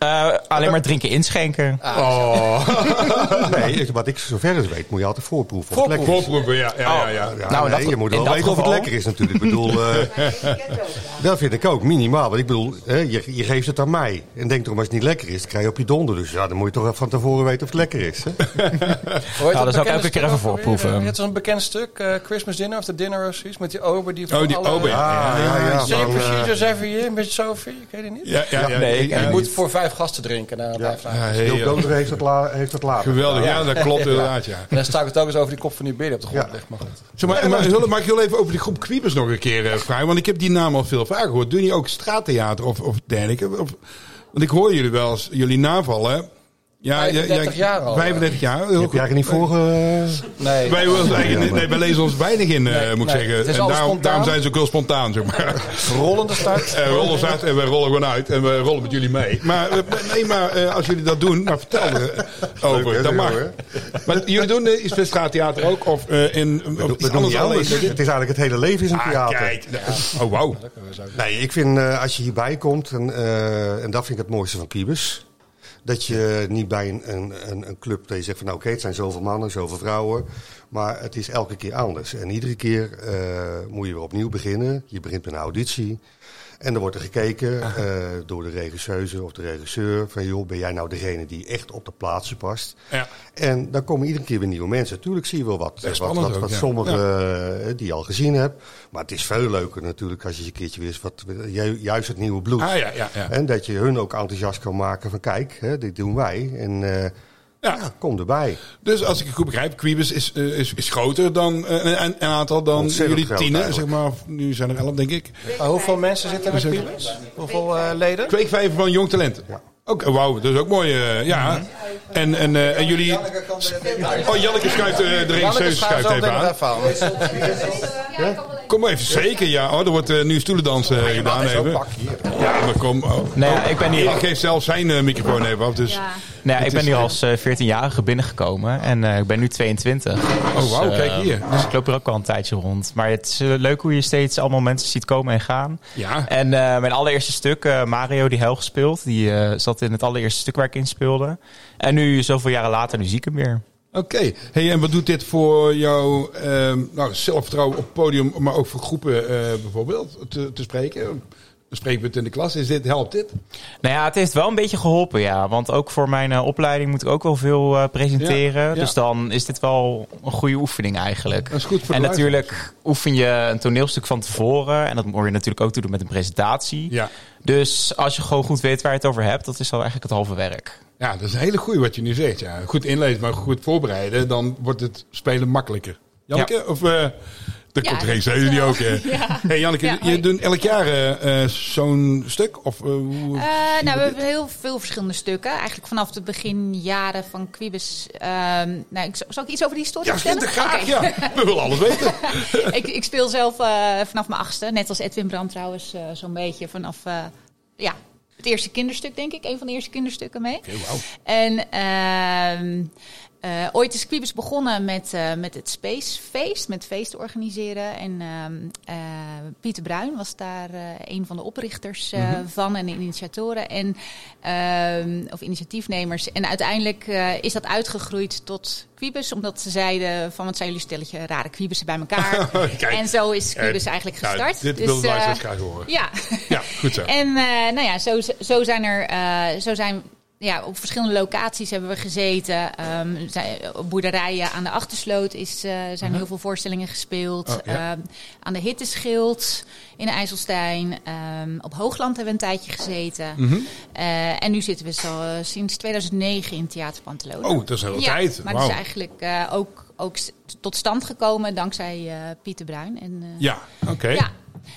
[SPEAKER 13] Eh, alleen maar drinken inschenken.
[SPEAKER 2] Oh.
[SPEAKER 13] <laughs> Ah.
[SPEAKER 12] <laughs> nee, wat ik zover eens weet, moet je altijd voorproeven. of het lekker is.
[SPEAKER 2] Voorproeven, ja. ja, ja, ja, ja.
[SPEAKER 12] nou,
[SPEAKER 13] Nou, in
[SPEAKER 12] nee,
[SPEAKER 13] dat-
[SPEAKER 12] je moet wel
[SPEAKER 13] in dat
[SPEAKER 12] weten of het
[SPEAKER 13] geval-
[SPEAKER 12] lekker is natuurlijk. Ik bedoel,
[SPEAKER 13] <laughs>
[SPEAKER 2] <laughs>
[SPEAKER 12] eh, dat vind ik ook, minimaal. Want ik bedoel, hè, je, je geeft het aan mij. En denk erom, als het niet lekker is, dan krijg je op je donder. Dus ja, dan moet je toch wel van tevoren weten of het lekker is.
[SPEAKER 2] <laughs>
[SPEAKER 12] Hè?
[SPEAKER 1] Hoor je
[SPEAKER 13] Nou,
[SPEAKER 1] dat
[SPEAKER 13] daar zou ik
[SPEAKER 1] bekende
[SPEAKER 13] elke keer
[SPEAKER 1] stuk
[SPEAKER 13] even
[SPEAKER 1] ook alweer?
[SPEAKER 13] voorproeven.
[SPEAKER 1] Eh, Het was een bekend stuk, eh, Christmas Dinner of the Dinner of zoiets, met die ober die Ah,
[SPEAKER 2] Oh, die ober, ja. Ja, ja, ja,
[SPEAKER 1] Same
[SPEAKER 2] man, eh.
[SPEAKER 1] procedures every year, met Sophie, ik weet het niet.
[SPEAKER 2] Ja, ja, ja,
[SPEAKER 1] nee,
[SPEAKER 2] ik-
[SPEAKER 1] ik- je
[SPEAKER 2] ja.
[SPEAKER 1] moet voor vijf gasten drinken eh, na vijf dagen.
[SPEAKER 2] Ja,
[SPEAKER 12] Joop
[SPEAKER 13] eh.
[SPEAKER 2] heel-
[SPEAKER 12] Doder heeft het, la, heeft het later.
[SPEAKER 2] Geweldig, ja, dat
[SPEAKER 1] <laughs>
[SPEAKER 2] klopt inderdaad, ja.
[SPEAKER 1] En dan sta ik het ook eens over die kop van die beer op de grond ligt, maar goed.
[SPEAKER 2] Zeg maar, maar Hulle, mag ik jullie even over die groep Kwiebers nog een keer eh, vragen? Want ik heb die naam al veel vaker gehoord. Doen die ook straattheater of, of dergelijke? Of- want ik hoor jullie wel eens jullie navallen. Ja,
[SPEAKER 1] 35 jaar al.
[SPEAKER 2] 35 jaar. Heel
[SPEAKER 12] Heb
[SPEAKER 2] goed.
[SPEAKER 12] jij er niet voor? eh,
[SPEAKER 1] Nee.
[SPEAKER 2] Wij, willen ons eigen- nee, wij lezen ons weinig in, eh, moet ik
[SPEAKER 1] nee. Het
[SPEAKER 2] zeggen.
[SPEAKER 1] is
[SPEAKER 2] En daarom,
[SPEAKER 1] alles spontaan.
[SPEAKER 2] daarom zijn ze ook heel spontaan, zeg maar.
[SPEAKER 1] Rollende start.
[SPEAKER 2] En we rollen ons uit en we rollen gewoon uit en we rollen met jullie mee. Maar, eh, nee, maar eh, als jullie dat doen, nou vertel er over.
[SPEAKER 12] <laughs> Leuk, hè,
[SPEAKER 2] dat mag.
[SPEAKER 12] hoor.
[SPEAKER 2] Maar jullie doen eh, iets met straattheater ook? Of eh, in of
[SPEAKER 12] We
[SPEAKER 2] iets
[SPEAKER 12] doen
[SPEAKER 2] anders?
[SPEAKER 12] niet alles.
[SPEAKER 2] anders?
[SPEAKER 12] Het is eigenlijk het hele leven is een
[SPEAKER 2] Ah,
[SPEAKER 12] theater.
[SPEAKER 2] kijk. Oh, wauw.
[SPEAKER 12] Nee, ik vind eh, als je hierbij komt, en, eh, en dat vind ik het mooiste van Kiebus. Dat je niet bij een, een, een, een club dat je zegt van nou, oké, het zijn zoveel mannen, zoveel vrouwen. Maar het is elke keer anders. En iedere keer eh, moet je weer opnieuw beginnen. Je begint met een auditie. En dan wordt er gekeken eh, door de regisseuse of de regisseur. Van joh, ben jij nou degene die echt op de plaatsen past?
[SPEAKER 2] Ja.
[SPEAKER 12] En dan komen iedere keer weer nieuwe mensen. Natuurlijk zie je wel wat,
[SPEAKER 2] is
[SPEAKER 12] wat, wat,
[SPEAKER 2] spannend
[SPEAKER 12] wat,
[SPEAKER 2] ook, ja.
[SPEAKER 12] sommige eh, die je al gezien hebt. Maar het is veel leuker natuurlijk als je eens een keertje weer eens wat, ju- juist het nieuwe bloed.
[SPEAKER 2] Ah, ja, ja, ja.
[SPEAKER 12] En dat je hun ook enthousiast kan maken van kijk, hè, dit doen wij. En eh,
[SPEAKER 2] Ja.
[SPEAKER 12] ja. kom erbij.
[SPEAKER 2] Dus als ik het goed begrijp, Quibus is, eh, is, is groter dan eh, een, een aantal dan
[SPEAKER 12] Ontzettend
[SPEAKER 2] jullie
[SPEAKER 12] groot
[SPEAKER 2] tienen, zeg
[SPEAKER 12] eigenlijk.
[SPEAKER 2] maar. Nu zijn er elf, denk ik. Dus
[SPEAKER 1] Maar hoeveel mensen zitten er met Piebus? Hoeveel eh, leden?
[SPEAKER 2] Kweekvijver van jong talenten. Ook, eh, wauw, dat is ook mooi, eh, ja.
[SPEAKER 1] Mhm.
[SPEAKER 2] En, en, eh, en jullie... Oh, Janneke schuift, eh, de regisseur schuift even aan. Kom maar even, zeker, ja. Oh, er wordt eh, nu stoelendansen eh, gedaan even. Ja, maar kom. Oh.
[SPEAKER 13] Nee, ja, ik ben hier-
[SPEAKER 2] Erik geeft zelf zijn eh, microfoon even af, dus...
[SPEAKER 13] Nou,
[SPEAKER 2] Het
[SPEAKER 13] ik ben
[SPEAKER 2] is-
[SPEAKER 13] hier als eh, 14-jarige binnengekomen en eh, ik ben nu 22. Dus,
[SPEAKER 2] Oh, wauw,
[SPEAKER 13] eh,
[SPEAKER 2] kijk hier.
[SPEAKER 13] Dus ik loop er ook al een tijdje rond. Maar het is eh, leuk hoe je steeds allemaal mensen ziet komen en gaan.
[SPEAKER 2] Ja.
[SPEAKER 13] En eh, mijn allereerste stuk, eh, Mario die Hel gespeeld, die eh, zat in het allereerste stuk waar ik in speelde. En nu, zoveel jaren later, nu zie ik hem weer.
[SPEAKER 2] Oké, hey, en wat doet dit voor jouw ehm, nou, zelfvertrouwen op het podium, maar ook voor groepen eh, bijvoorbeeld te, te spreken? Een spreekbeurt in de klas, is dit, helpt dit?
[SPEAKER 13] Nou ja, het heeft wel een beetje geholpen, ja. Want ook voor mijn eh, opleiding moet ik ook wel veel eh, presenteren.
[SPEAKER 2] Ja, ja.
[SPEAKER 13] Dus dan is dit wel een goede oefening eigenlijk.
[SPEAKER 2] Dat is goed voor de
[SPEAKER 13] en natuurlijk oefen je een toneelstuk van tevoren. En dat moet je natuurlijk ook doen met een presentatie.
[SPEAKER 2] Ja.
[SPEAKER 13] Dus als je gewoon goed weet waar je het over hebt, dat is dan eigenlijk het halve werk.
[SPEAKER 2] Ja, dat is een hele goeie wat je nu zegt. Ja. Goed inlezen, maar goed voorbereiden, dan wordt het spelen makkelijker. Janneke, of... eh de
[SPEAKER 14] Ja,
[SPEAKER 2] komt
[SPEAKER 14] dat
[SPEAKER 2] geen zeden die ook.
[SPEAKER 7] <laughs>
[SPEAKER 2] hè?
[SPEAKER 14] <laughs> Ja.
[SPEAKER 2] Hey Janneke,
[SPEAKER 14] Ja,
[SPEAKER 2] je
[SPEAKER 14] hoi.
[SPEAKER 2] doet elk jaar eh, eh, zo'n stuk? Of, eh, hoe-
[SPEAKER 14] Eh, nou, we hebben heel veel verschillende stukken. Eigenlijk vanaf de beginjaren van Quibus. ehm, nou, ik, zal ik iets over die historie
[SPEAKER 2] Ja,
[SPEAKER 14] vertellen?
[SPEAKER 2] vind ik graag,
[SPEAKER 14] Oké. <laughs>
[SPEAKER 2] ja. We willen alles weten.
[SPEAKER 14] ik, ik speel zelf eh, vanaf mijn achtste. Net als Edwin Brand trouwens, eh, zo'n beetje. Vanaf eh, ja, het eerste kinderstuk, denk ik. Een van de eerste kinderstukken mee. En ehm, eh, ooit is Quibus begonnen met, eh, met het Spacefeest, met feesten organiseren. En ehm, eh, Pieter Bruin was daar eh, een van de oprichters eh,
[SPEAKER 6] Mhm.
[SPEAKER 14] van en initiatoren en, ehm, of initiatiefnemers. En uiteindelijk eh, is dat uitgegroeid tot Quibus, omdat ze zeiden van wat zijn jullie stelletje rare Quiebussen bij elkaar.
[SPEAKER 2] <laughs> Kijk.
[SPEAKER 14] en zo is Quibus
[SPEAKER 2] Eh,
[SPEAKER 14] eigenlijk
[SPEAKER 2] nou,
[SPEAKER 14] gestart.
[SPEAKER 2] dit wil de
[SPEAKER 14] eh,
[SPEAKER 2] luisteraars graag horen.
[SPEAKER 14] Ja,
[SPEAKER 2] Ja, goed zo.
[SPEAKER 14] en eh, nou ja, zo, zo zijn er, eh, zo zijn ja, op verschillende locaties hebben we gezeten. Ehm, zij- op boerderijen aan de Achtersloot is, eh, zijn
[SPEAKER 2] Uh-huh.
[SPEAKER 7] Mhm.
[SPEAKER 14] heel veel voorstellingen gespeeld.
[SPEAKER 7] Oh, ja.
[SPEAKER 14] Ehm, aan de Hitteschild in IJsselstein. Ehm, op Hoogland hebben we een tijdje gezeten.
[SPEAKER 2] Mhm.
[SPEAKER 14] Eh, en nu zitten we zo, eh, sinds 2009 in Theater Pantelona.
[SPEAKER 2] Oh, dat is een hele
[SPEAKER 14] Ja,
[SPEAKER 2] tijd.
[SPEAKER 14] Maar dat is
[SPEAKER 2] Wauw.
[SPEAKER 14] eigenlijk eh, ook, ook s- tot stand gekomen dankzij eh, Pieter Bruin. En, eh,
[SPEAKER 2] Ja, oké.
[SPEAKER 14] <laughs> Ja,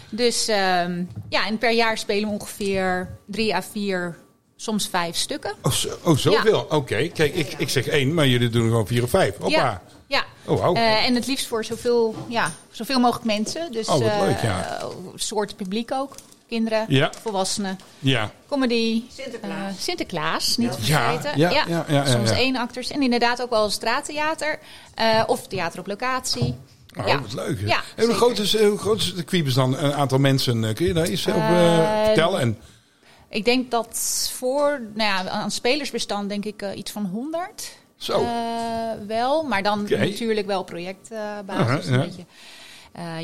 [SPEAKER 14] dus ehm, ja, en per jaar spelen we ongeveer drie à vier, soms vijf stukken.
[SPEAKER 2] Oh, zo- oh, zoveel? Oké, kijk, ik, ik zeg één, maar jullie doen er gewoon vier of vijf. Hoppa.
[SPEAKER 14] Ja, ja.
[SPEAKER 2] Oh, wauw.
[SPEAKER 14] Eh, en het liefst voor zoveel, ja, zoveel mogelijk mensen. Dus
[SPEAKER 2] Oh, wat
[SPEAKER 14] eh,
[SPEAKER 2] leuk, ja.
[SPEAKER 14] eh, soorten publiek ook. Kinderen,
[SPEAKER 2] Ja.
[SPEAKER 14] volwassenen.
[SPEAKER 2] Ja.
[SPEAKER 14] Comedy. Sinterklaas. Sinterklaas, niet te
[SPEAKER 2] Ja,
[SPEAKER 14] vergeten.
[SPEAKER 2] ja, ja, ja, ja,
[SPEAKER 14] Soms
[SPEAKER 2] ja.
[SPEAKER 14] één acteurs. En inderdaad ook wel straattheater. eh, of theater op locatie.
[SPEAKER 2] Oh,
[SPEAKER 14] ja.
[SPEAKER 2] wat leuk. hè.
[SPEAKER 14] Ja,
[SPEAKER 2] en hoe groot, is, eh, hoe groot is de Quibus dan? Een aantal mensen, eh, kun je daar iets over eh,
[SPEAKER 14] Eh,
[SPEAKER 2] vertellen? En,
[SPEAKER 14] Ik denk dat voor, nou ja, aan spelersbestand denk ik eh, iets van 100.
[SPEAKER 2] Zo.
[SPEAKER 14] Eh, wel, maar dan
[SPEAKER 2] Oké.
[SPEAKER 14] natuurlijk wel projectbasis. Eh,
[SPEAKER 2] Aha, ja.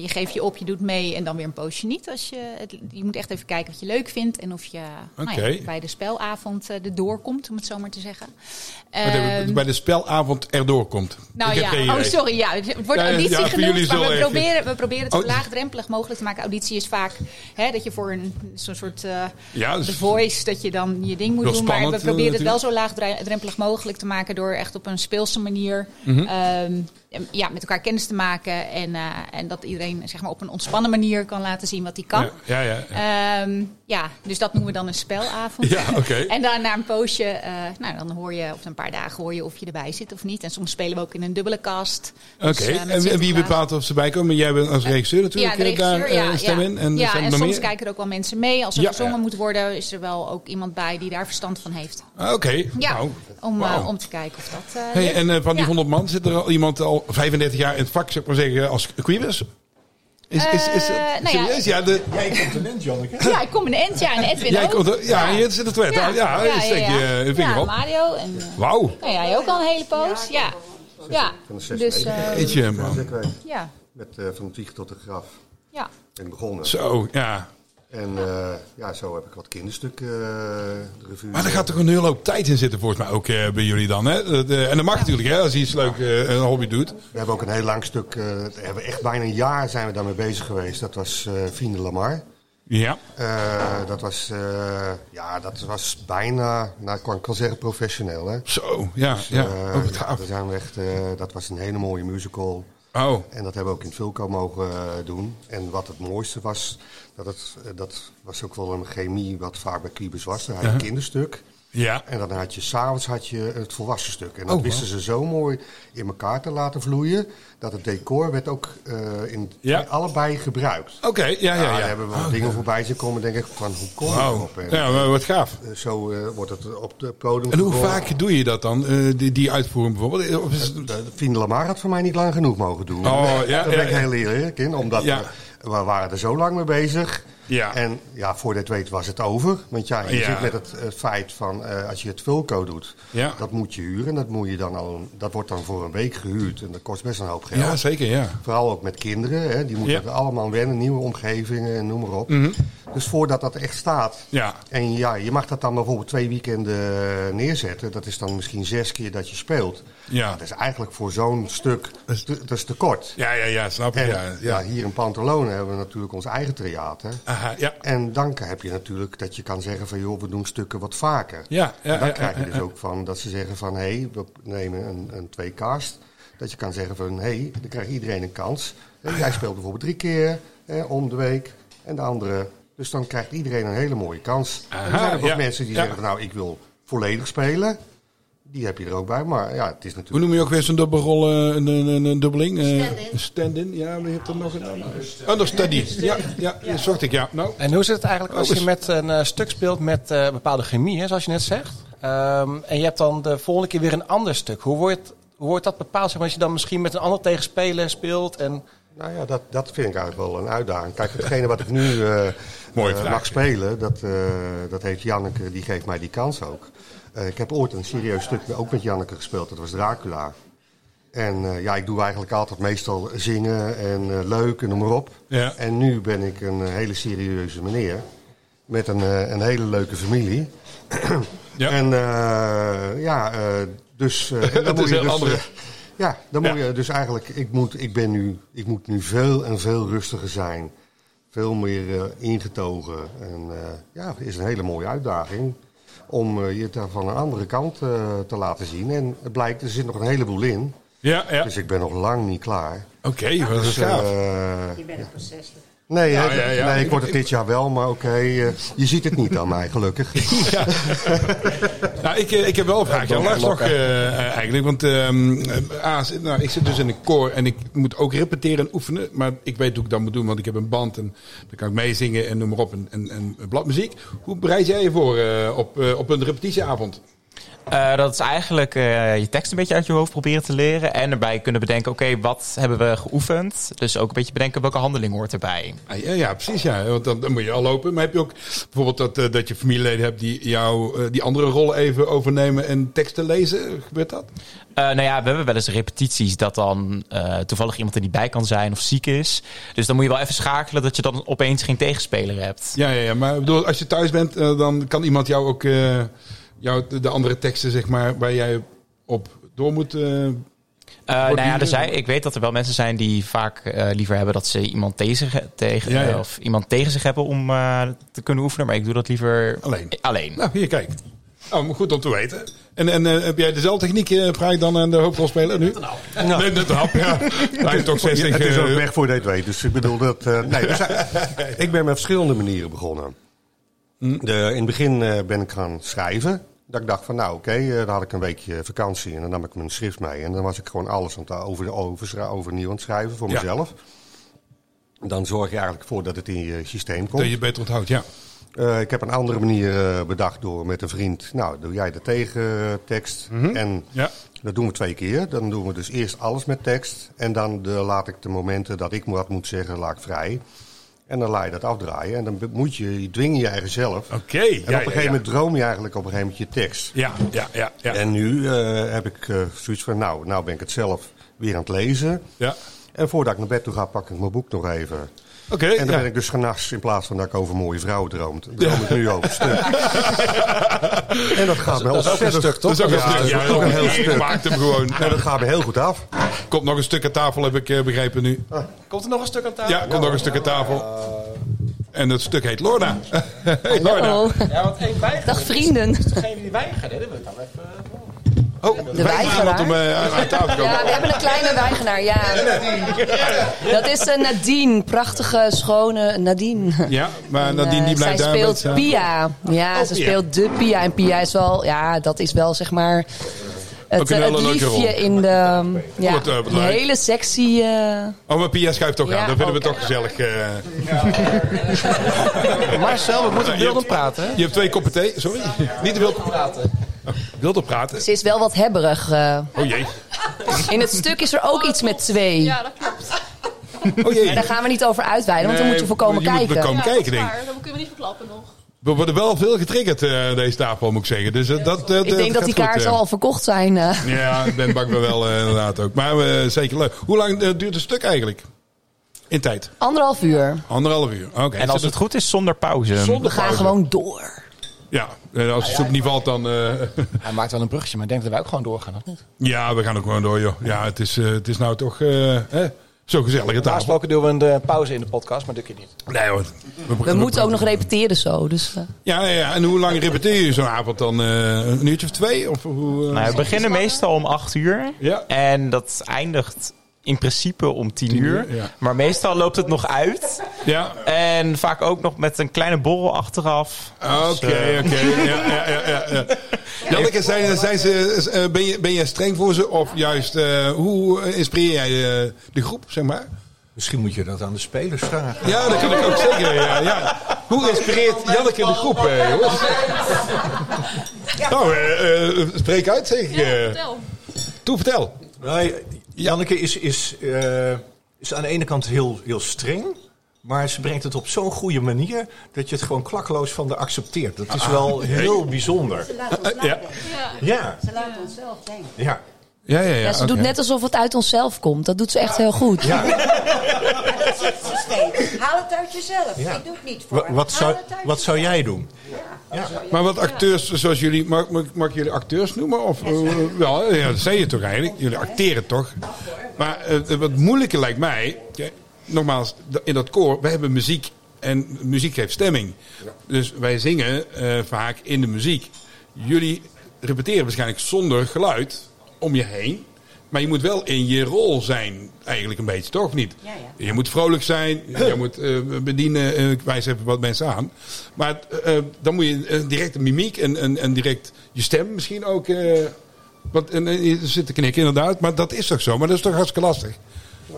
[SPEAKER 14] je geeft je op, je doet mee en dan weer een poosje niet. Als je, het, je moet echt even kijken wat je leuk vindt en of je nou ja,
[SPEAKER 2] Oké. Oh,
[SPEAKER 14] bij de spelavond eh, erdoor komt, om het zo maar te zeggen.
[SPEAKER 2] wat hebben we
[SPEAKER 14] Ehm,
[SPEAKER 2] bij de spelavond erdoor komt.
[SPEAKER 14] nou
[SPEAKER 2] Ik heb
[SPEAKER 14] ja,
[SPEAKER 2] geen
[SPEAKER 14] oh
[SPEAKER 2] idee.
[SPEAKER 14] sorry, ja, het wordt
[SPEAKER 2] Ja, ja,
[SPEAKER 14] auditie
[SPEAKER 2] ja, voor jullie
[SPEAKER 14] genoemd,
[SPEAKER 2] is
[SPEAKER 14] maar
[SPEAKER 2] wel
[SPEAKER 14] we
[SPEAKER 2] echt-
[SPEAKER 14] proberen, we proberen het zo
[SPEAKER 2] Oh.
[SPEAKER 14] laagdrempelig mogelijk te maken. Auditie is vaak hè, dat je voor een zo'n soort eh
[SPEAKER 2] Ja, dus-
[SPEAKER 14] The Voice, dat je dan je ding moet
[SPEAKER 2] Wel
[SPEAKER 14] doen. maar
[SPEAKER 2] spannend,
[SPEAKER 14] we proberen
[SPEAKER 2] eh,
[SPEAKER 14] het wel zo laagdrempelig mogelijk te maken door echt op een speelse manier
[SPEAKER 2] Mhm.
[SPEAKER 14] ehm, ja, met elkaar kennis te maken. En, eh, en dat iedereen zeg maar, op een ontspannen manier kan laten zien wat hij kan.
[SPEAKER 2] Ja, ja, ja.
[SPEAKER 14] Ehm, ja, dus dat noemen we dan een spelavond.
[SPEAKER 2] Ja, oké.
[SPEAKER 14] en dan na een poosje, eh, nou, dan hoor je, of een paar dagen hoor je of je erbij zit of niet. En soms spelen we ook in een dubbele kast.
[SPEAKER 2] Oké,
[SPEAKER 14] Dus, eh, met
[SPEAKER 2] en wie- en wie
[SPEAKER 14] Sinterklaas.
[SPEAKER 2] bepaalt of ze bijkomen? Jij bent als regisseur natuurlijk
[SPEAKER 14] ja, de
[SPEAKER 2] eh, daar
[SPEAKER 14] regisseur,
[SPEAKER 2] eh,
[SPEAKER 14] ja,
[SPEAKER 2] stem
[SPEAKER 14] ja.
[SPEAKER 2] in. En,
[SPEAKER 14] ja, en
[SPEAKER 2] zijn er nog
[SPEAKER 14] soms
[SPEAKER 2] meer?
[SPEAKER 14] kijken er ook wel mensen mee. Als er
[SPEAKER 2] Ja,
[SPEAKER 14] gezongen
[SPEAKER 2] ja.
[SPEAKER 14] moet worden, is er wel ook iemand bij die daar verstand van heeft.
[SPEAKER 2] Ah, Oké,
[SPEAKER 14] Ja,
[SPEAKER 2] wauw.
[SPEAKER 14] om, eh,
[SPEAKER 2] Wauw.
[SPEAKER 14] om te kijken of dat... eh,
[SPEAKER 2] Hey,
[SPEAKER 14] lukt.
[SPEAKER 2] en eh, van die
[SPEAKER 14] Ja.
[SPEAKER 2] 100 man zit er al iemand al 35 jaar in het vak, zeg maar zeggen, als quibus? Is, is, is, dat
[SPEAKER 14] Eh, nou ja.
[SPEAKER 2] serieus? Ja, de,
[SPEAKER 11] Jij komt een end, Janneke.
[SPEAKER 14] Ja, ik kom in Ent, ja, en Edwin
[SPEAKER 2] Jij
[SPEAKER 14] ook.
[SPEAKER 2] komt er- ja, hier zit het weer. Ja, ja,
[SPEAKER 14] ja,
[SPEAKER 2] steek je,
[SPEAKER 14] ja.
[SPEAKER 2] eh, je vinger
[SPEAKER 14] Ja,
[SPEAKER 2] op.
[SPEAKER 14] Mario en... eh,
[SPEAKER 2] Wauw.
[SPEAKER 14] Nou ja, jij ook al een hele poos. Ja, ja.
[SPEAKER 12] Van de zes
[SPEAKER 14] dus... eh,
[SPEAKER 2] Jeetje, man.
[SPEAKER 14] ja,
[SPEAKER 12] Met eh, Van de Wieg tot de Graf.
[SPEAKER 14] ja.
[SPEAKER 12] En begonnen.
[SPEAKER 2] Zo, ja.
[SPEAKER 12] En eh, ja, zo heb ik wat kinderstukken eh, de revue.
[SPEAKER 2] Maar er gaat toch een hele hoop tijd in zitten volgens mij ook eh, bij jullie dan. Hè? Dat, eh, en dat mag natuurlijk hè, als je iets leuk, eh, een hobby doet.
[SPEAKER 12] We hebben ook een heel lang stuk, eh, daar hebben we echt bijna een jaar zijn we daarmee bezig geweest. Dat was eh Vriende Lamar.
[SPEAKER 2] Ja.
[SPEAKER 12] Eh, dat was, eh, ja, dat was bijna, nou ik kan, ik wel zeggen professioneel hè.
[SPEAKER 2] Zo, ja, ja.
[SPEAKER 12] eh,
[SPEAKER 2] Oh, wat
[SPEAKER 12] ja, daar zijn we echt, eh, dat was een hele mooie musical.
[SPEAKER 2] Oh.
[SPEAKER 12] En dat hebben we ook in Vulco mogen eh, doen. En wat het mooiste was, dat, het, eh, dat was ook wel een chemie wat vaak bij Kiebers was. Daar had je
[SPEAKER 2] Ja.
[SPEAKER 12] kinderstuk.
[SPEAKER 2] Ja.
[SPEAKER 12] En dan had je s'avonds had je het volwassen stuk. En dat
[SPEAKER 2] Oh,
[SPEAKER 12] wisten
[SPEAKER 2] wauw.
[SPEAKER 12] ze zo mooi in elkaar te laten vloeien. Dat het decor werd ook eh, in bij allebei gebruikt. Nou,
[SPEAKER 2] Oké, ja, ja, ja.
[SPEAKER 12] Daar hebben we wel
[SPEAKER 2] Oh,
[SPEAKER 12] dingen
[SPEAKER 2] ja.
[SPEAKER 12] voorbij zien komen. Denk ik van hoe kom je
[SPEAKER 2] Wauw.
[SPEAKER 12] erop? En,
[SPEAKER 2] Ja, maar wat gaaf.
[SPEAKER 12] eh, Zo eh, wordt het op de podium.
[SPEAKER 2] En hoe
[SPEAKER 12] gebracht.
[SPEAKER 2] vaak doe je dat dan, eh, die, die uitvoering bijvoorbeeld? Eh, Of is het-
[SPEAKER 12] Fien Lamar had voor mij niet lang genoeg mogen doen. <laughs>
[SPEAKER 2] Oh,
[SPEAKER 12] Nee,
[SPEAKER 2] ja,
[SPEAKER 12] Daar
[SPEAKER 2] ja,
[SPEAKER 12] ben ik
[SPEAKER 2] ja.
[SPEAKER 12] heel eerlijk in, omdat eh,
[SPEAKER 2] Ja.
[SPEAKER 12] we, we waren er zo lang mee bezig.
[SPEAKER 2] Ja.
[SPEAKER 12] En ja, voor dit weet was het over. Want ja, je
[SPEAKER 2] Ja.
[SPEAKER 12] zit met het, eh, feit van eh, als je het Vulco doet,
[SPEAKER 2] Ja.
[SPEAKER 12] dat moet je huren. Dat, moet je dan al, dat wordt dan voor een week gehuurd en dat kost best een hoop geld.
[SPEAKER 2] Ja, zeker, ja.
[SPEAKER 12] Vooral ook met kinderen, hè, die moeten
[SPEAKER 2] Ja.
[SPEAKER 12] er allemaal wennen, nieuwe omgevingen en noem maar op.
[SPEAKER 2] Mhm.
[SPEAKER 12] Dus voordat dat echt staat,
[SPEAKER 2] Ja.
[SPEAKER 12] en ja, je mag dat dan bijvoorbeeld twee weekenden eh, neerzetten. Dat is dan misschien zes keer dat je speelt.
[SPEAKER 2] Ja.
[SPEAKER 12] Dat is eigenlijk voor zo'n stuk, te- dat is te kort.
[SPEAKER 2] Ja, ja, ja, snap ik.
[SPEAKER 12] En,
[SPEAKER 2] Ja, ja.
[SPEAKER 12] hier in Pantalone hebben we natuurlijk ons eigen theater.
[SPEAKER 2] Aha, ja.
[SPEAKER 12] En dan heb je natuurlijk dat je kan zeggen van... joh, we doen stukken wat vaker.
[SPEAKER 2] Ja, ja,
[SPEAKER 12] en dan
[SPEAKER 2] ja,
[SPEAKER 12] krijg
[SPEAKER 2] ja,
[SPEAKER 12] je dus
[SPEAKER 2] ja.
[SPEAKER 12] ook van dat ze zeggen van... hé, hey, we nemen een, een tweecast. Dat je kan zeggen van... hé, hey, dan krijgt iedereen een kans. En jij speelt bijvoorbeeld drie keer hè, om de week. En de andere... Dus dan krijgt iedereen een hele mooie kans. en er zijn ook
[SPEAKER 2] ja,
[SPEAKER 12] wat mensen die
[SPEAKER 2] ja.
[SPEAKER 12] zeggen van... nou, ik wil volledig spelen. Die heb je er ook bij. Maar ja, het is natuurlijk...
[SPEAKER 2] Hoe noem je ook weer zo'n dubbelrol, eh, een, een, een, een dubbeling? eh, een stand-in, ja, maar je hebt er nog een Understudy, ja, ja, ja, zocht ik, ja. Nou.
[SPEAKER 1] En hoe zit het eigenlijk als
[SPEAKER 2] Oh,
[SPEAKER 1] je
[SPEAKER 2] is-
[SPEAKER 1] met een eh, stuk speelt met eh, bepaalde chemie, hè, zoals je net zegt? Ehm, en je hebt dan de volgende keer weer een ander stuk. Hoe wordt, hoe wordt dat bepaald? Zeg maar, als je dan misschien met een ander tegenspeler speelt en...
[SPEAKER 12] Nou ja, dat, dat vind ik eigenlijk wel een uitdaging. Kijk, hetgene wat ik nu eh
[SPEAKER 2] <laughs> Mooie
[SPEAKER 12] eh,
[SPEAKER 2] vraag.
[SPEAKER 12] mag spelen, dat, eh, dat heeft Janneke, die geeft mij die kans ook. Eh, ik heb ooit een serieus stuk ook met Janneke gespeeld, dat was Dracula. En eh, ja, ik doe eigenlijk altijd meestal zingen en eh, leuk en noem maar op.
[SPEAKER 2] Ja.
[SPEAKER 12] En nu ben ik eh, een hele serieuze meneer met een, eh, een hele leuke familie. <clears throat> En eh, ja, eh, dus... eh,
[SPEAKER 2] <laughs> Dat is heel
[SPEAKER 12] dus,
[SPEAKER 2] andere.
[SPEAKER 12] eh, ja, dan moet
[SPEAKER 2] Ja.
[SPEAKER 12] je dus eigenlijk... Ik moet, ik, ben nu, ik moet nu veel en veel rustiger zijn. Veel meer eh, ingetogen. En eh, ja, het is een hele mooie uitdaging om eh, je daar van een andere kant eh, te laten zien. En het blijkt, er zit nog een heleboel in.
[SPEAKER 2] Ja, ja.
[SPEAKER 12] Dus ik ben nog lang niet klaar.
[SPEAKER 2] Oké, dat is
[SPEAKER 12] eh,
[SPEAKER 2] gaaf.
[SPEAKER 12] eh,
[SPEAKER 8] bent pas 60.
[SPEAKER 12] Nee,
[SPEAKER 2] Ja,
[SPEAKER 12] hè,
[SPEAKER 2] ja, ja.
[SPEAKER 12] nee, ik word het dit jaar wel, maar oké. eh, je ziet het niet aan mij, gelukkig.
[SPEAKER 2] <laughs> Nou, ik, eh, ik heb wel een vraagje.
[SPEAKER 12] Ja,
[SPEAKER 2] Lars toch
[SPEAKER 12] lokken.
[SPEAKER 2] eh, eh, eigenlijk. Want ehm, eh, A, zit- nou, ik zit dus in een koor en ik moet ook repeteren en oefenen. Maar ik weet hoe ik dat moet doen, want ik heb een band en dan kan ik meezingen en noem maar op. En, en, en bladmuziek. Hoe bereid jij je voor eh, op, eh, op een repetitieavond?
[SPEAKER 13] Eh, dat is eigenlijk eh, je tekst een beetje uit je hoofd proberen te leren. En daarbij kunnen bedenken, oké, wat hebben we geoefend? Dus ook een beetje bedenken welke handeling hoort erbij.
[SPEAKER 2] Ah, ja, ja, precies. Ja. Want dan, dan moet je al lopen. Maar heb je ook bijvoorbeeld dat, eh, dat je familieleden hebt die jou eh, die andere rollen even overnemen en teksten lezen? Gebeurt dat?
[SPEAKER 13] Eh, nou ja, we hebben wel eens repetities dat dan eh, toevallig iemand er niet bij kan zijn of ziek is. Dus dan moet je wel even schakelen dat je dan opeens geen tegenspeler hebt.
[SPEAKER 2] Ja, ja, ja. maar ik bedoel, als je thuis bent, eh, dan kan iemand jou ook eh, jou, de- de andere teksten, zeg maar, waar jij op door moet. eh,
[SPEAKER 13] Eh, nou ja,
[SPEAKER 2] borduren.
[SPEAKER 13] er zijn, ik weet dat er wel mensen zijn die vaak eh, liever hebben dat ze iemand tegen, zich- tegen,
[SPEAKER 2] Ja, ja.
[SPEAKER 13] eh, of iemand tegen zich hebben om eh, te kunnen oefenen. Maar ik doe dat liever
[SPEAKER 2] Alleen.
[SPEAKER 13] alleen.
[SPEAKER 2] Nou, hier, kijk. Oh, maar goed om te weten. En, en eh, heb jij dezelfde techniek, eh, vraag ik dan aan de hoofdrolspeler nu?
[SPEAKER 12] Ja.
[SPEAKER 2] Nee, net een hap, ja. Hij is toch 60.
[SPEAKER 12] Het is ook
[SPEAKER 2] eh,
[SPEAKER 12] weg voor dit weet. Dus ik bedoel dat. eh, <laughs> nee, we zijn- ik ben met verschillende manieren begonnen. De, in het begin eh, ben ik gaan schrijven. Dat ik dacht van, nou oké, eh, dan had ik een weekje vakantie en dan nam ik mijn schrift mee. En dan was ik gewoon alles aan het eh, over, over, overnieuw aan het schrijven voor
[SPEAKER 2] Ja.
[SPEAKER 12] mezelf. Dan zorg je eigenlijk voor dat het in je systeem komt.
[SPEAKER 2] dat je beter onthoudt, ja.
[SPEAKER 12] Eh, ik heb een andere manier eh, bedacht door met een vriend. Nou, doe jij de tegentekst.
[SPEAKER 2] Mhm.
[SPEAKER 12] En
[SPEAKER 2] Ja.
[SPEAKER 12] dat doen we twee keer. Dan doen we dus eerst alles met tekst. En dan de, laat ik de momenten dat ik wat moet zeggen, laat ik vrij. En dan laat je dat afdraaien. En dan be- moet je, je dwing je eigen zelf. Oké. en op
[SPEAKER 2] ja,
[SPEAKER 12] een gegeven
[SPEAKER 2] ja.
[SPEAKER 12] moment droom je eigenlijk op een gegeven moment je tekst.
[SPEAKER 2] Ja, ja, ja. ja.
[SPEAKER 12] En nu eh, heb ik eh, zoiets van, nou, nou ben ik het zelf weer aan het lezen.
[SPEAKER 2] Ja.
[SPEAKER 12] En voordat ik naar bed toe ga, pak ik mijn boek nog even.
[SPEAKER 2] Oké,
[SPEAKER 12] en dan
[SPEAKER 2] ja.
[SPEAKER 12] ben ik dus genas in plaats van dat ik over mooie vrouwen droomt. Droom ik nu over
[SPEAKER 2] <laughs>
[SPEAKER 12] stuk. en dat gaat me
[SPEAKER 2] Dat is ook
[SPEAKER 12] ontzettend
[SPEAKER 2] een stuk, toch?
[SPEAKER 12] Ja, Dat is ook een,
[SPEAKER 2] Ja, ja,
[SPEAKER 12] heel
[SPEAKER 2] ja,
[SPEAKER 12] stuk.
[SPEAKER 2] maakt hem gewoon.
[SPEAKER 12] En dat gaat me heel goed af. Ah.
[SPEAKER 2] Komt nog een stuk aan tafel, heb ik eh, begrepen nu.
[SPEAKER 1] Komt er nog een stuk aan tafel?
[SPEAKER 2] Ja, komt nog een stuk aan tafel. En dat stuk heet Lorna. <laughs> Hey, Lorna. Oh,
[SPEAKER 6] Hallo.
[SPEAKER 1] Ja, want één weiger.
[SPEAKER 6] Dag, vrienden.
[SPEAKER 1] Dus degene die weigert, hè, dat wil ik dan even...
[SPEAKER 2] Oh,
[SPEAKER 6] De
[SPEAKER 2] iemand
[SPEAKER 6] weigeraar.
[SPEAKER 2] om eh, aan aan tafel te komen.
[SPEAKER 6] Ja, we hebben een kleine weigenaar, ja. Dat is eh, Nadine. Prachtige, schone Nadine.
[SPEAKER 2] Ja, maar Nadine,
[SPEAKER 6] En, eh,
[SPEAKER 2] die blijft
[SPEAKER 6] zij
[SPEAKER 2] daar
[SPEAKER 6] speelt
[SPEAKER 2] met, eh,
[SPEAKER 6] Pia. Ja,
[SPEAKER 2] Oh,
[SPEAKER 6] ze
[SPEAKER 2] Pia.
[SPEAKER 6] speelt de Pia. En Pia is wel, ja, dat is wel zeg maar...
[SPEAKER 2] Ook
[SPEAKER 6] Het,
[SPEAKER 2] een
[SPEAKER 6] eh,
[SPEAKER 2] hele
[SPEAKER 6] het
[SPEAKER 2] leuke
[SPEAKER 6] liefje
[SPEAKER 2] rol.
[SPEAKER 6] in de... Ja,
[SPEAKER 2] Wat, eh, wat
[SPEAKER 6] een
[SPEAKER 2] leuk.
[SPEAKER 6] hele sexy... eh,
[SPEAKER 2] Oh, maar Pia schuift toch
[SPEAKER 6] Ja,
[SPEAKER 2] aan. Dan vinden we het toch gezellig. eh.
[SPEAKER 12] <laughs>
[SPEAKER 1] Marcel, we moeten
[SPEAKER 2] Je
[SPEAKER 1] beeldend
[SPEAKER 2] hebt-
[SPEAKER 1] praten. hè?
[SPEAKER 2] Je hebt twee koppen thee. Sorry. Niet te veel praten. Wild op praten?
[SPEAKER 6] ze is wel wat hebberig. eh.
[SPEAKER 2] Oh jee.
[SPEAKER 6] In het stuk is er
[SPEAKER 14] Oh,
[SPEAKER 6] ook iets met twee. Ja,
[SPEAKER 14] dat klopt.
[SPEAKER 2] Oh jee.
[SPEAKER 6] Daar gaan we niet over uitweiden, want dan
[SPEAKER 2] Nee,
[SPEAKER 6] moet je voorkomen
[SPEAKER 2] je moet
[SPEAKER 6] kijken.
[SPEAKER 2] voorkomen kijken, denk ik.
[SPEAKER 14] Maar dat kunnen we niet verklappen nog.
[SPEAKER 2] We worden wel veel getriggerd eh, deze tafel, moet ik zeggen. Dus eh, dat, eh,
[SPEAKER 6] Ik denk dat
[SPEAKER 2] gaat
[SPEAKER 6] die
[SPEAKER 2] goed,
[SPEAKER 6] kaarten
[SPEAKER 2] eh.
[SPEAKER 6] al verkocht zijn. eh.
[SPEAKER 2] Ja, ik ben bang wel wel eh, inderdaad ook. Maar eh, zeker leuk. Hoe lang eh, duurt het stuk eigenlijk? In tijd?
[SPEAKER 6] Anderhalf
[SPEAKER 2] Ehm,
[SPEAKER 6] uur.
[SPEAKER 2] Anderhalf uur. Oké.
[SPEAKER 13] En als het goed is, zonder pauze.
[SPEAKER 6] We gaan gewoon door.
[SPEAKER 2] Ja, eh, als de soep niet valt, dan... eh, <laughs>
[SPEAKER 1] Hij maakt wel een bruggetje, maar ik denk dat wij ook gewoon doorgaan. of niet?
[SPEAKER 2] ja, we gaan ook gewoon door, joh. Ja, het is, eh, het is nou toch eh, hè, zo'n gezellige
[SPEAKER 1] Normaal
[SPEAKER 2] tafel.
[SPEAKER 1] gesproken doen we een eh, pauze in de podcast, maar dat kun je niet.
[SPEAKER 2] Nee hoor. We,
[SPEAKER 6] We moeten ook nog repeteren zo. Dus, eh.
[SPEAKER 2] Ja, ja, ja, en hoe lang repeteer je zo'n avond dan? eh, een uurtje of twee? Of hoe, eh?
[SPEAKER 13] Nou, we beginnen meestal om 8 uur.
[SPEAKER 2] Ja.
[SPEAKER 13] En dat eindigt in principe om 10
[SPEAKER 2] uur,
[SPEAKER 13] uur.
[SPEAKER 2] ja.
[SPEAKER 13] Maar meestal loopt het nog uit.
[SPEAKER 2] Ja.
[SPEAKER 13] En vaak ook nog met een kleine borrel achteraf. Dus,
[SPEAKER 2] Oké,
[SPEAKER 13] eh,
[SPEAKER 2] oké. Ja, ja, ja, ja, <laughs> ja. Janneke, zijn, zijn ze, eh, ben, je, ben je streng voor ze? Of juist, eh, hoe inspireer jij eh, de groep, zeg maar?
[SPEAKER 11] Misschien moet je dat aan de spelers vragen.
[SPEAKER 2] Ja, dat kan ik ook zeker. Ja, ja. Hoe inspireert Janneke de groep, eh, jongens? Nou, eh, eh, spreek uit, zeg ik. eh. Toe, vertel.
[SPEAKER 11] Nee, Nou, Janneke is, is, eh, is aan de ene kant heel, heel streng. Maar ze brengt het op zo'n goede manier dat je het gewoon klakkeloos van haar accepteert. Dat is wel
[SPEAKER 2] Ah,
[SPEAKER 11] heel
[SPEAKER 2] hey. Eh,
[SPEAKER 11] bijzonder.
[SPEAKER 8] Ze laat ons
[SPEAKER 2] Ja.
[SPEAKER 8] nadenken.
[SPEAKER 11] Ja,
[SPEAKER 8] Ze laat ons zelf denken.
[SPEAKER 11] ja.
[SPEAKER 2] Ja, ja, ja.
[SPEAKER 6] Ja, ze doet
[SPEAKER 2] oké.
[SPEAKER 6] net alsof het uit onszelf komt. Dat doet ze echt heel goed.
[SPEAKER 8] Dat zegt ze steeds. Haal het uit jezelf.
[SPEAKER 2] Ja.
[SPEAKER 8] Ik doe het niet voor
[SPEAKER 2] Wa-
[SPEAKER 8] hem.
[SPEAKER 2] Wat zou,
[SPEAKER 8] Haal het uit
[SPEAKER 2] wat zou jij doen? Maar wat acteurs, zoals jullie, mag, mag, mag ik jullie acteurs noemen? Of, eh, wel, ja, dat zei je toch eigenlijk? Jullie acteren toch? Maar eh, wat moeilijker lijkt mij, ja, nogmaals, d- in dat koor, we hebben muziek en muziek geeft stemming. Dus wij zingen eh, vaak in de muziek. Jullie repeteren waarschijnlijk zonder geluid om je heen. Maar je moet wel in je rol zijn, eigenlijk een beetje, toch? Of niet? Je moet vrolijk zijn, je moet eh, bedienen, eh, ik wijs even wat mensen aan. Maar eh, eh, dan moet je eh, direct een mimiek en, en, en direct je stem misschien ook... eh, want en, en je zit te knikken inderdaad, maar dat is toch zo? Maar dat is toch hartstikke lastig?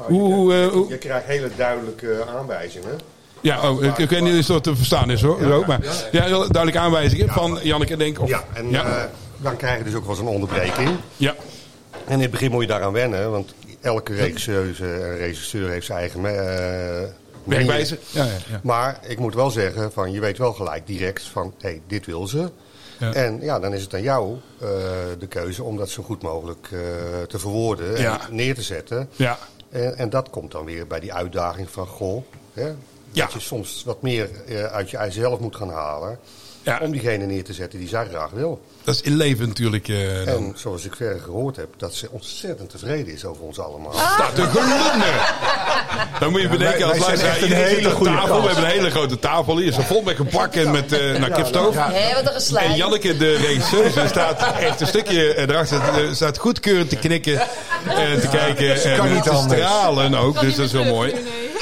[SPEAKER 2] hoe, hoe, eh, hoe-
[SPEAKER 12] Nou, Je krijgt hele duidelijke aanwijzingen.
[SPEAKER 2] ja, oh, ik, ik weet niet eens of het te verstaan is hoor. Zo, maar, ja, heel duidelijke aanwijzingen van Janneke Denk. Of,
[SPEAKER 12] Ja, en eh, dan krijg je dus ook wel eens een onderbreking.
[SPEAKER 2] Ja.
[SPEAKER 12] En in het begin moet je daaraan wennen, want elke regisseuse en regisseur heeft zijn eigen... eh, manier.
[SPEAKER 2] Werkwijze. Ja, ja, ja.
[SPEAKER 12] Maar ik moet wel zeggen, van, je weet wel gelijk direct van, hé, dit wil ze.
[SPEAKER 2] Ja.
[SPEAKER 12] En ja, dan is het aan jou eh, de keuze om dat zo goed mogelijk eh, te verwoorden en
[SPEAKER 2] Ja.
[SPEAKER 12] neer te zetten.
[SPEAKER 2] Ja.
[SPEAKER 12] En, en dat komt dan weer bij die uitdaging van, goh, hè, dat je soms wat meer eh, uit jezelf moet gaan halen. Om diegene neer te zetten die zij graag wil.
[SPEAKER 2] Dat is in leven natuurlijk. eh, dan.
[SPEAKER 12] En zoals ik verder gehoord heb, dat ze ontzettend tevreden is over ons allemaal.
[SPEAKER 2] Staat te gelunder! Nou, Dan moet je
[SPEAKER 12] Ja,
[SPEAKER 2] bedenken
[SPEAKER 12] wij-
[SPEAKER 2] als
[SPEAKER 12] wij zijn
[SPEAKER 2] luisteraar,
[SPEAKER 12] echt een
[SPEAKER 2] iedereen zit
[SPEAKER 12] hele
[SPEAKER 2] aan
[SPEAKER 12] goede
[SPEAKER 2] tafel.
[SPEAKER 12] kans.
[SPEAKER 2] We hebben een hele grote tafel hier. Ze vol met gebak en met eh naar kipstoof.
[SPEAKER 6] Ja. Hé, wat een geslijt.
[SPEAKER 2] En Janneke, de regisseuse, staat echt een stukje eh, erachter. eh, Staat goedkeurend te knikken en te kijken.
[SPEAKER 12] ze
[SPEAKER 2] en
[SPEAKER 12] dus kan niet
[SPEAKER 2] te
[SPEAKER 12] anders.
[SPEAKER 2] stralen ook. Dus dat is heel mooi.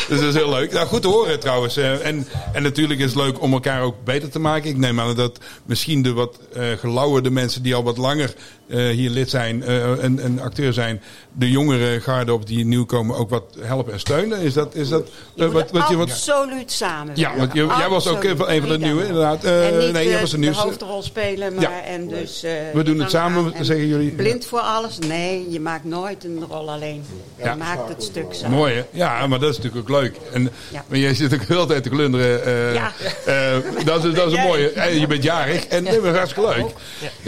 [SPEAKER 2] Dus dat is heel leuk. Nou, goed te horen trouwens. Eh, En, en natuurlijk is het leuk om elkaar ook beter te maken. Ik neem aan dat misschien de wat eh gelauwerde mensen die al wat langer eh, hier lid zijn eh, en, en acteur zijn, de jongere garde op die nieuw komen ook wat helpen en steunen. Is dat, is dat eh, wat, wat je wat.
[SPEAKER 8] Absoluut samen.
[SPEAKER 2] Ja, want je- jij was ook een van- een van de nieuwe, inderdaad. Eh,
[SPEAKER 8] en niet
[SPEAKER 2] nee, jij
[SPEAKER 8] de-
[SPEAKER 2] was de
[SPEAKER 8] de
[SPEAKER 2] nieuwste.
[SPEAKER 8] hoofdrol spelen, maar...
[SPEAKER 2] Ja.
[SPEAKER 8] En dus, eh,
[SPEAKER 2] We doen het
[SPEAKER 8] dan
[SPEAKER 2] samen,
[SPEAKER 8] aan- en
[SPEAKER 2] zeggen jullie.
[SPEAKER 8] Blind voor alles? Nee, je maakt nooit een rol alleen. Je
[SPEAKER 2] Ja.
[SPEAKER 8] maakt het stuk samen.
[SPEAKER 2] Mooi, hè? Ja, maar dat is natuurlijk ook leuk. En,
[SPEAKER 8] Ja.
[SPEAKER 2] Maar jij zit ook heel de tijd te glunderen. eh,
[SPEAKER 8] Ja.
[SPEAKER 2] eh, dat is, dat is
[SPEAKER 8] Jij.
[SPEAKER 2] mooi. En je bent jarig en
[SPEAKER 8] Ja.
[SPEAKER 2] dat is hartstikke leuk.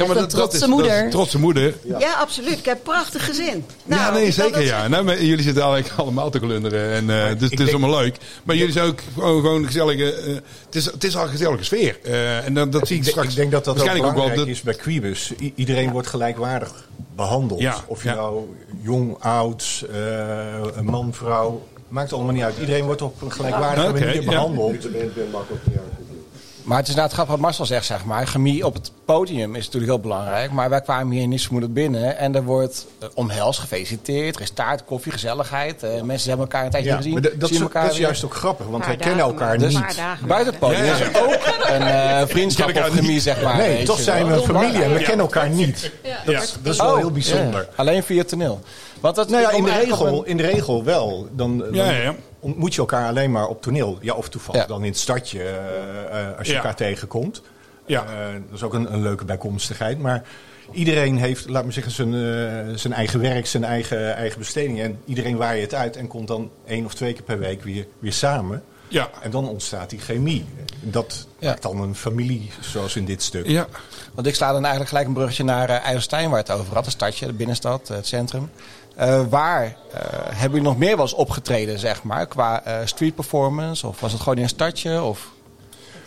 [SPEAKER 8] Echt een trotse moeder.
[SPEAKER 2] trotse moeder. Ja,
[SPEAKER 8] Ja. absoluut. Ik heb een prachtig gezin.
[SPEAKER 2] nee, zeker ja. Nou, maar jullie zitten eigenlijk allemaal te glunderen. En, eh, dus het is allemaal leuk. Maar jullie zijn ook gewoon, gewoon gezellige... eh, het, is, het is al een gezellige sfeer. Eh, en dat, dat zie ik,
[SPEAKER 11] Ik, denk-
[SPEAKER 2] straks
[SPEAKER 11] ik denk dat dat ook
[SPEAKER 2] waarschijnlijk
[SPEAKER 11] belangrijk
[SPEAKER 2] wel.
[SPEAKER 11] is bij Quibus. I- iedereen wordt gelijkwaardig behandeld.
[SPEAKER 2] Ja,
[SPEAKER 11] Of je nou jong, oud, eh, een man, vrouw... Maakt allemaal niet uit. Iedereen wordt op een gelijkwaardige
[SPEAKER 1] Oké,
[SPEAKER 11] manier
[SPEAKER 1] ja.
[SPEAKER 11] behandeld.
[SPEAKER 1] Maar het is nou het grap wat Marcel zegt, zeg maar. Chemie op het podium is natuurlijk heel belangrijk. Maar wij kwamen hier niet moeilijk binnen. En er wordt eh, omhels, gefeliciteerd. Er is taart, koffie, gezelligheid. Eh, mensen hebben elkaar een tijdje
[SPEAKER 11] Ja,
[SPEAKER 1] niet gezien.
[SPEAKER 11] maar dat- dat
[SPEAKER 1] zien
[SPEAKER 11] is-
[SPEAKER 1] elkaar
[SPEAKER 11] dat is
[SPEAKER 1] weer.
[SPEAKER 11] juist ook grappig, want Paar wij kennen dagen, elkaar
[SPEAKER 1] Dus
[SPEAKER 11] niet. paar dagen.
[SPEAKER 1] buiten het podium
[SPEAKER 11] Ja, ja.
[SPEAKER 1] is er ook
[SPEAKER 11] <laughs>
[SPEAKER 1] een eh, vriendschap of chemie, zeg maar.
[SPEAKER 11] Nee,
[SPEAKER 1] weet
[SPEAKER 11] toch
[SPEAKER 1] je
[SPEAKER 11] zijn we
[SPEAKER 1] wel.
[SPEAKER 11] een familie en we
[SPEAKER 1] Ja.
[SPEAKER 11] kennen elkaar niet. Dat, is- dat is wel
[SPEAKER 1] Oh,
[SPEAKER 11] heel bijzonder.
[SPEAKER 1] ja. Alleen via toneel. Want dat,
[SPEAKER 11] Nou ja,
[SPEAKER 1] ik
[SPEAKER 11] in
[SPEAKER 1] kom
[SPEAKER 11] de,
[SPEAKER 1] eigenlijk op
[SPEAKER 11] regel,
[SPEAKER 1] een-
[SPEAKER 11] in de regel wel. Dan, dan
[SPEAKER 1] Ja, ja, ja.
[SPEAKER 11] ontmoet je elkaar alleen maar op toneel. Ja, of toevallig dan in het stadje eh, eh, als je
[SPEAKER 2] Ja.
[SPEAKER 11] elkaar tegenkomt.
[SPEAKER 2] Ja.
[SPEAKER 11] Eh, dat is ook een, een leuke bijkomstigheid. Maar iedereen heeft, laat maar zeggen, zijn, eh, zijn eigen werk, zijn eigen, eigen besteding. En iedereen waait het uit en komt dan één of twee keer per week weer, weer samen.
[SPEAKER 2] Ja.
[SPEAKER 11] En dan ontstaat die chemie. Dat maakt dan een familie, zoals in dit stuk.
[SPEAKER 2] Ja.
[SPEAKER 1] Want ik sla dan eigenlijk gelijk een brugje naar eh IJsselstein, waar het over had. Een stadje, de binnenstad, eh, het centrum. Eh, waar eh, hebben jullie nog meer wel eens opgetreden, zeg maar? Qua eh, street performance? Of was het gewoon in een stadje? Of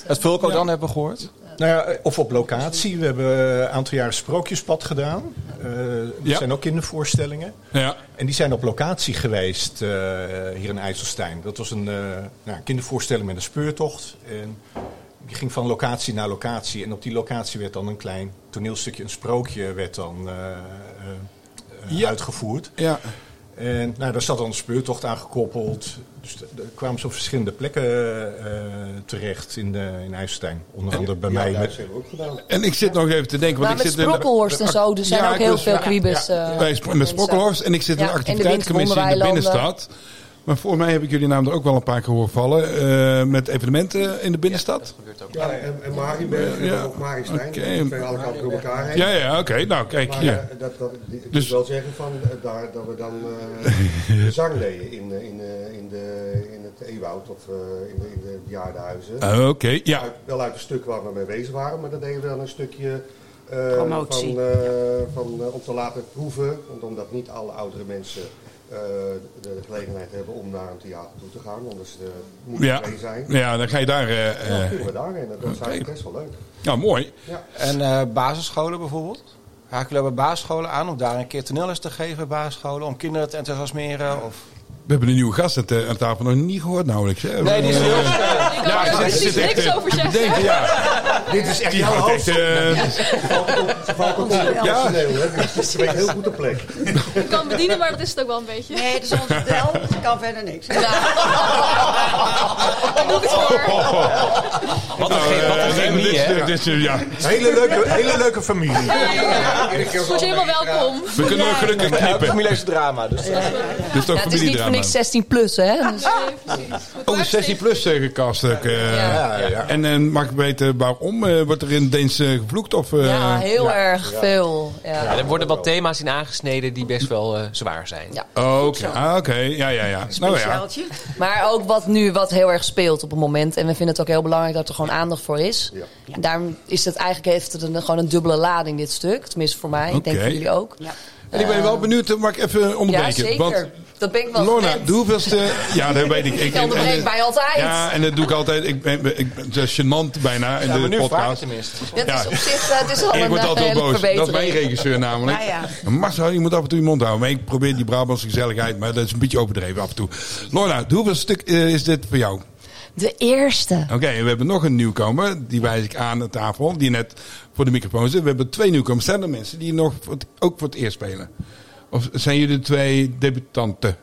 [SPEAKER 1] het Vulco dan hebben we gehoord?
[SPEAKER 11] Nou ja, eh, of op locatie. We hebben eh, een aantal jaren Sprookjespad gedaan. Eh dat
[SPEAKER 2] Ja.
[SPEAKER 11] zijn ook kindervoorstellingen.
[SPEAKER 2] Ja.
[SPEAKER 11] En die zijn op locatie geweest eh, hier in IJsselstein. Dat was een eh, nou, kindervoorstelling met een speurtocht. En die ging van locatie naar locatie. En op die locatie werd dan een klein toneelstukje, een sprookje, werd dan eh, eh, eh, uitgevoerd.
[SPEAKER 2] Ja.
[SPEAKER 11] En nou, daar zat dan een speurtocht aan gekoppeld. Dus d- daar kwamen ze op verschillende plekken eh, terecht in, de, in IJsselstein. Onder andere bij
[SPEAKER 12] Ja,
[SPEAKER 11] mij.
[SPEAKER 12] daar
[SPEAKER 11] met-
[SPEAKER 12] hebben we ook gedaan.
[SPEAKER 2] En ik zit nog even te denken. Want
[SPEAKER 6] Maar
[SPEAKER 2] ik
[SPEAKER 6] met
[SPEAKER 2] zit in de-
[SPEAKER 6] Sprokkelhorst en zo, er zijn ook
[SPEAKER 2] ik
[SPEAKER 6] heel
[SPEAKER 2] was-
[SPEAKER 6] veel kriebes, eh,
[SPEAKER 2] Bij Sp- met
[SPEAKER 6] mensen.
[SPEAKER 2] Sprokkelhorst en ik zit in
[SPEAKER 6] Ja,
[SPEAKER 2] de
[SPEAKER 6] en de
[SPEAKER 2] activiteitencommissie in de
[SPEAKER 6] windwonderweilanden.
[SPEAKER 2] binnenstad. Maar voor mij heb ik jullie naam er ook wel een paar keer horen vallen. eh, met evenementen in de binnenstad.
[SPEAKER 12] Ja, en, en Marienberg en ook Mariestein.
[SPEAKER 2] oké.
[SPEAKER 12] Die twee alle kanten door elkaar heen.
[SPEAKER 2] Ja, ja, oké. Nou, kijk.
[SPEAKER 12] Maar,
[SPEAKER 2] ja.
[SPEAKER 12] eh, dat, dat, ik
[SPEAKER 2] Dus-
[SPEAKER 12] dus wil wel zeggen van, eh, daar, dat we dan
[SPEAKER 2] <laughs>
[SPEAKER 12] eh zang deden in, eh, in, eh, in, de, in het Ewoud of eh, in, de, in de bejaardenhuizen.
[SPEAKER 2] Ah, oké, ja.
[SPEAKER 12] Uit- wel uit het stuk waar we mee bezig waren, maar dan deden we dan een stukje eh,
[SPEAKER 8] Promotie.
[SPEAKER 12] Van, eh, van, eh, om te laten proeven, want omdat niet alle oudere mensen eh, de gelegenheid hebben om naar een theater toe te gaan. Anders eh, moet je
[SPEAKER 2] Ja.
[SPEAKER 12] alleen zijn.
[SPEAKER 2] Ja, dan ga je daar, eh,
[SPEAKER 12] ja,
[SPEAKER 2] eh,
[SPEAKER 12] doen we daarheen. Dat is eigenlijk best wel leuk.
[SPEAKER 2] Nou, mooi.
[SPEAKER 12] Ja.
[SPEAKER 1] En eh, basisscholen bijvoorbeeld? Haken jullie bij basisscholen aan om daar een keer toneelles te geven bij basisscholen? Om kinderen te enthousiasmeren? Of...
[SPEAKER 2] We hebben een nieuwe gast aan, de- aan tafel nog niet gehoord nauwelijks. Hè?
[SPEAKER 1] Nee, die is heel
[SPEAKER 2] Ja, ik zit- zit echt, eh, te denken, ja.
[SPEAKER 12] Dit is echt
[SPEAKER 2] Die
[SPEAKER 12] jouw
[SPEAKER 2] houdt echt,
[SPEAKER 12] hoofdstad.
[SPEAKER 2] eh,
[SPEAKER 12] Ja, dat is een Dus heel goede plek.
[SPEAKER 15] Ik kan bedienen, maar dat is het ook wel een beetje.
[SPEAKER 8] Nee, dat is ons
[SPEAKER 15] <laughs>
[SPEAKER 8] wel. Ik kan verder niks. <laughs>
[SPEAKER 2] Wat een
[SPEAKER 13] ge- wat een chemie, hè?
[SPEAKER 11] Oh,
[SPEAKER 2] eh,
[SPEAKER 11] Hele leuke, hele leuke familie.
[SPEAKER 15] Wordt helemaal
[SPEAKER 6] eh.
[SPEAKER 15] welkom.
[SPEAKER 2] We kunnen ook gelukkig knippen.
[SPEAKER 1] Familieus drama. Dus.
[SPEAKER 2] Dit is
[SPEAKER 6] Ja,
[SPEAKER 2] ook
[SPEAKER 6] het is niet voor
[SPEAKER 2] familiedrama.
[SPEAKER 6] niks 16 plus, hè? Dus-
[SPEAKER 2] Oh, 16 plus eh, gecast. ook, eh.
[SPEAKER 6] Ja. Ja,
[SPEAKER 2] En eh, mag ik weten waarom? eh, wordt er in Deens eh, gevloekt? Of, eh,
[SPEAKER 6] ja, heel erg
[SPEAKER 5] Ja.
[SPEAKER 6] veel. Ja.
[SPEAKER 5] Ja, er worden wat thema's in aangesneden die best wel eh, zwaar zijn.
[SPEAKER 2] Oh, Oké, Ah, oké. ja, ja, ja. Nou ja.
[SPEAKER 6] Maar ook wat nu wat heel erg speelt op het moment. En we vinden het ook heel belangrijk dat er gewoon aandacht voor is. En daarom is het eigenlijk heeft het een, gewoon een dubbele lading, dit stuk. Tenminste voor mij. Ik denk
[SPEAKER 2] Oké.
[SPEAKER 6] voor jullie ook. Ja,
[SPEAKER 2] En ik ben wel benieuwd, eh, mag ik even onderbreken?
[SPEAKER 6] zeker.
[SPEAKER 2] Want
[SPEAKER 6] dat ben ik wel.
[SPEAKER 2] Lorna,
[SPEAKER 6] gewend.
[SPEAKER 2] de hoeveelste... Ja, dat
[SPEAKER 6] <laughs>
[SPEAKER 2] weet ik.
[SPEAKER 6] Ik onderbreek
[SPEAKER 2] en, eh,
[SPEAKER 6] mij altijd.
[SPEAKER 2] Ja, en dat doe ik altijd. Ik ben, ik ben dat is gênant bijna in
[SPEAKER 1] Ja, maar
[SPEAKER 2] de
[SPEAKER 1] nu vaak
[SPEAKER 2] podcast.
[SPEAKER 1] tenminste.
[SPEAKER 6] Dat
[SPEAKER 2] Ja.
[SPEAKER 6] is op zich eh, het is al
[SPEAKER 2] ik
[SPEAKER 6] een
[SPEAKER 2] word
[SPEAKER 6] eh,
[SPEAKER 2] altijd
[SPEAKER 6] hele
[SPEAKER 2] wel boos. Dat is mijn
[SPEAKER 6] verbetering.
[SPEAKER 2] regisseur namelijk.
[SPEAKER 6] Nou
[SPEAKER 2] Marcel, je moet af en toe je mond houden. Maar ik probeer die Brabantse gezelligheid, maar dat is een beetje overdreven af en toe. Lorna, hoeveel stuk eh, is dit voor jou?
[SPEAKER 6] De eerste.
[SPEAKER 2] Oké, en we hebben nog een nieuwkomer. Die wijs ik aan de tafel. Die net voor de microfoon zit. We hebben twee nieuwkomers. Zijn er mensen die nog voor het- ook voor het eerst spelen? Of zijn jullie de twee debutanten?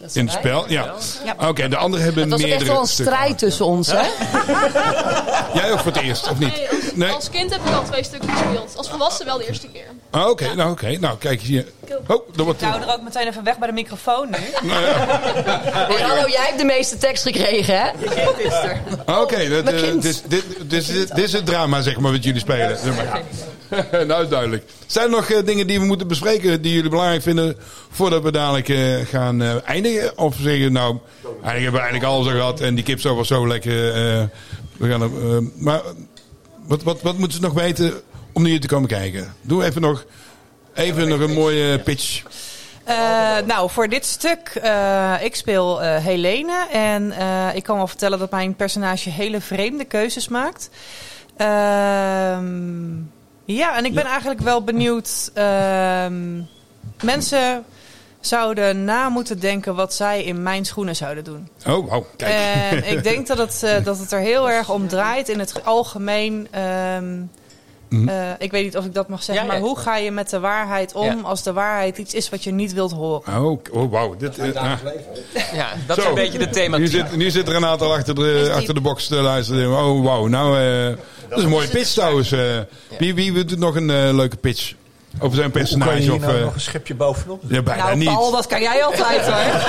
[SPEAKER 6] Dat
[SPEAKER 2] In het
[SPEAKER 6] zijn
[SPEAKER 2] spel,
[SPEAKER 6] wij.
[SPEAKER 2] ja. Oké, de anderen hebben
[SPEAKER 6] Het was
[SPEAKER 2] meerdere
[SPEAKER 6] echt wel een
[SPEAKER 2] stukken.
[SPEAKER 6] strijd tussen ons, hè?
[SPEAKER 2] Jij ook voor het eerst, of niet? Nee?
[SPEAKER 15] Als kind heb ik al twee stukken gespeeld. Als volwassen wel de eerste keer.
[SPEAKER 2] Ah, Oké, nou oké. Nou, kijk hier. Oh, dat wordt...
[SPEAKER 10] Ik hou er ook meteen even weg bij de microfoon nu.
[SPEAKER 6] En hallo, jij hebt de meeste tekst gekregen, hè?
[SPEAKER 2] Ah, Oké, dat, eh, dit is- dit- dit is- dit is het drama, zeg maar, wat jullie spelen. Zeg maar. <laughs> nou, is duidelijk. Zijn er nog eh, dingen die we moeten bespreken die jullie belangrijk vinden voordat we dadelijk eh, gaan eh, eindigen? Of zeg je nou, eigenlijk hebben we eigenlijk alles al gehad en die kipsel was zo lekker. eh, we gaan, er, eh, maar wat, wat, wat moeten ze nog weten om hier te komen kijken? Doe even nog, even nog een mooie pitch.
[SPEAKER 10] Eh, nou, voor dit stuk, eh, ik speel eh, Helene. En eh, ik kan wel vertellen dat mijn personage hele vreemde keuzes maakt. Ehm, ja, en ik ben eigenlijk wel benieuwd. ehm, mensen zouden na moeten denken wat zij in mijn schoenen zouden doen.
[SPEAKER 2] Oh, wauw, kijk.
[SPEAKER 10] En ik denk dat het, eh, dat het er heel erg om draait in het algemeen. ehm,
[SPEAKER 2] Mhm.
[SPEAKER 10] eh, ik weet niet of ik dat mag zeggen,
[SPEAKER 2] Ja,
[SPEAKER 10] maar
[SPEAKER 2] ja.
[SPEAKER 10] hoe ga je met de waarheid om
[SPEAKER 2] Ja.
[SPEAKER 10] als de waarheid iets is wat je niet wilt horen?
[SPEAKER 2] Oh, oh wauw. Dit, eh, ah.
[SPEAKER 5] Ja, dat is een beetje de
[SPEAKER 2] Nu
[SPEAKER 5] thematiek.
[SPEAKER 2] zit, nu zit er een aantal achter de, achter de box te luisteren. Oh, wauw. Nou, eh, dat is een mooie pitch trouwens. eh. wie, wie, wie doet nog een eh, leuke pitch? Over zijn
[SPEAKER 11] Hoe kan
[SPEAKER 2] personage?
[SPEAKER 11] je hier
[SPEAKER 2] Of,
[SPEAKER 11] nou
[SPEAKER 2] eh,
[SPEAKER 11] nog een schipje bovenop?
[SPEAKER 2] ja, bijna
[SPEAKER 5] Nou,
[SPEAKER 2] niet.
[SPEAKER 10] dat kan jij altijd hoor.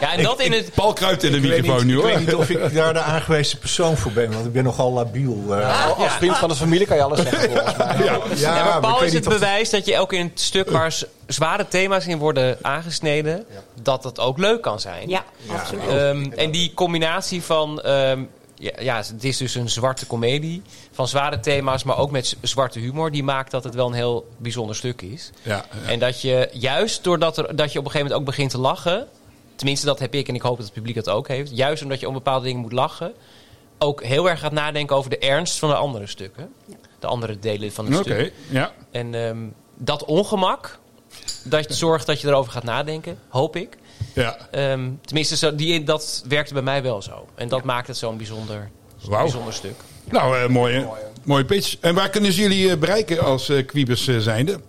[SPEAKER 5] Ja, en dat in het...
[SPEAKER 2] Paul kruipt in de
[SPEAKER 11] Ik weet,
[SPEAKER 2] microfoon
[SPEAKER 11] niet,
[SPEAKER 2] nu
[SPEAKER 11] ik
[SPEAKER 2] hoor.
[SPEAKER 11] weet niet of ik daar de aangewezen persoon voor ben, want ik ben nogal labiel. eh.
[SPEAKER 1] Als vriend van de familie kan je alles zeggen.
[SPEAKER 11] Ja,
[SPEAKER 5] Ja, maar
[SPEAKER 11] maar ik
[SPEAKER 5] Paul
[SPEAKER 11] weet
[SPEAKER 5] is het
[SPEAKER 11] niet of-
[SPEAKER 5] bewijs dat je elke keer in het stuk waar z- zware thema's in worden aangesneden, dat dat ook leuk kan zijn.
[SPEAKER 8] Ja,
[SPEAKER 5] absoluut. Ehm, en die combinatie van, ehm, ja, ja, het is dus een zwarte komedie van zware thema's, maar ook met z- zwarte humor, die maakt dat het wel een heel bijzonder stuk is.
[SPEAKER 2] Ja,
[SPEAKER 5] En dat je juist doordat er, dat je op een gegeven moment ook begint te lachen, tenminste dat heb ik en ik hoop dat het publiek dat ook heeft, juist omdat je om bepaalde dingen moet lachen, ook heel erg gaat nadenken over de ernst van de andere stukken. De andere delen van het
[SPEAKER 2] Oké,
[SPEAKER 5] stuk.
[SPEAKER 2] ja.
[SPEAKER 5] En ehm, dat ongemak, dat zorgt dat je erover gaat nadenken, hoop ik.
[SPEAKER 2] Ja.
[SPEAKER 5] Ehm, tenminste, zo, die, dat werkte bij mij wel zo. En dat maakt het zo'n bijzonder,
[SPEAKER 2] Wauw.
[SPEAKER 5] bijzonder stuk.
[SPEAKER 2] Nou, eh, mooie, mooie pitch. En waar kunnen ze jullie eh, bereiken als eh Quibus eh, zijnde?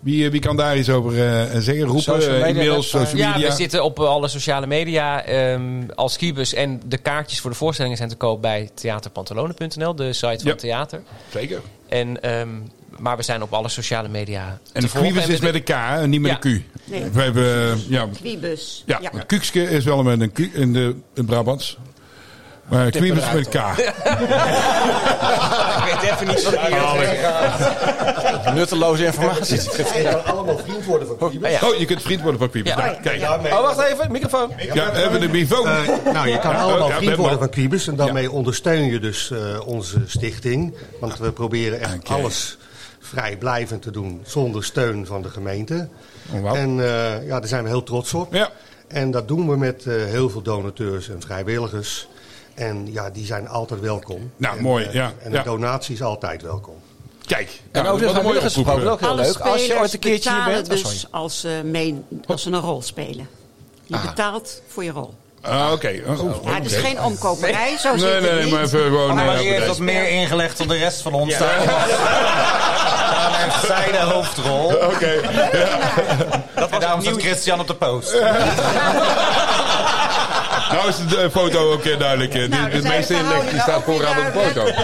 [SPEAKER 2] Wie, eh, wie kan daar iets over eh, zeggen? Roepen,
[SPEAKER 5] Social
[SPEAKER 2] eh,
[SPEAKER 5] media,
[SPEAKER 2] e-mails,
[SPEAKER 5] website.
[SPEAKER 2] social media?
[SPEAKER 5] Ja, we zitten op eh, alle sociale media ehm, als Kiebus. En de kaartjes voor de voorstellingen zijn te koop bij theaterpantalone.nl, de site van
[SPEAKER 2] Ja.
[SPEAKER 5] theater.
[SPEAKER 2] Zeker.
[SPEAKER 5] En, ehm, maar we zijn op alle sociale media
[SPEAKER 2] En Quibus is met een K, hè, niet met
[SPEAKER 5] Ja.
[SPEAKER 2] een Q.
[SPEAKER 8] Nee.
[SPEAKER 2] We hebben, eh, ja,
[SPEAKER 8] Wiebus.
[SPEAKER 2] Ja, maar
[SPEAKER 12] <laughs>
[SPEAKER 2] Kuukske is wel met een Q in de in Brabants. Maar
[SPEAKER 8] Tip
[SPEAKER 2] Kwiebes
[SPEAKER 8] eruit,
[SPEAKER 2] met K.
[SPEAKER 5] Ik weet even niet wat
[SPEAKER 1] Nutteloze informatie.
[SPEAKER 12] Je kan allemaal vriend worden van Kiebus.
[SPEAKER 2] Oh, je kunt vriend worden van Kwiebes. Nou, kijk. Ja,
[SPEAKER 1] Oh, wacht even. Microfoon.
[SPEAKER 2] hebben de microfoon.
[SPEAKER 12] Nou, je kan
[SPEAKER 2] Ja,
[SPEAKER 12] allemaal
[SPEAKER 2] ja, we
[SPEAKER 12] vriend
[SPEAKER 2] hebben-
[SPEAKER 12] worden van Kiebus. En daarmee ondersteun je dus eh, onze stichting. Want we proberen echt alles vrijblijvend te doen zonder steun van de gemeente. En eh, ja, daar zijn we heel trots op. En dat doen we met eh, heel veel donateurs en vrijwilligers. En ja, die zijn altijd welkom.
[SPEAKER 2] Nou,
[SPEAKER 12] en,
[SPEAKER 2] mooi,
[SPEAKER 12] eh,
[SPEAKER 2] ja,
[SPEAKER 12] En
[SPEAKER 2] ja.
[SPEAKER 12] de donatie is altijd welkom.
[SPEAKER 2] Kijk,
[SPEAKER 12] En over
[SPEAKER 2] wat een mooie
[SPEAKER 12] vrijwilligers
[SPEAKER 2] oproep,
[SPEAKER 12] gesproken,
[SPEAKER 2] eh.
[SPEAKER 12] ook heel
[SPEAKER 8] Alle
[SPEAKER 12] leuk.
[SPEAKER 8] spelers
[SPEAKER 12] Als je ooit een keertje hier
[SPEAKER 8] betalen
[SPEAKER 12] bent- oh,
[SPEAKER 8] dus
[SPEAKER 12] sorry.
[SPEAKER 8] als, eh, mee, als ze een rol spelen. Je
[SPEAKER 2] Ah.
[SPEAKER 8] betaalt voor je rol.
[SPEAKER 2] Ah, oké. Oh,
[SPEAKER 8] Ja, het is
[SPEAKER 2] oké.
[SPEAKER 8] geen omkoperij, zo
[SPEAKER 2] Nee,
[SPEAKER 8] zit
[SPEAKER 2] nee,
[SPEAKER 8] het
[SPEAKER 2] nee,
[SPEAKER 8] niet.
[SPEAKER 2] maar even gewoon...
[SPEAKER 4] Maar
[SPEAKER 2] eh,
[SPEAKER 4] die heeft
[SPEAKER 2] bedrijf.
[SPEAKER 4] wat meer ingelegd dan de rest van ons. Daar
[SPEAKER 2] <laughs>
[SPEAKER 4] heeft zij de hoofdrol. Oké. Dat was daarom staat Christian op de post.
[SPEAKER 2] Nou is de eh, foto ook eh, duidelijk. eh. De- de meeste inleg die staat vooraan op de foto.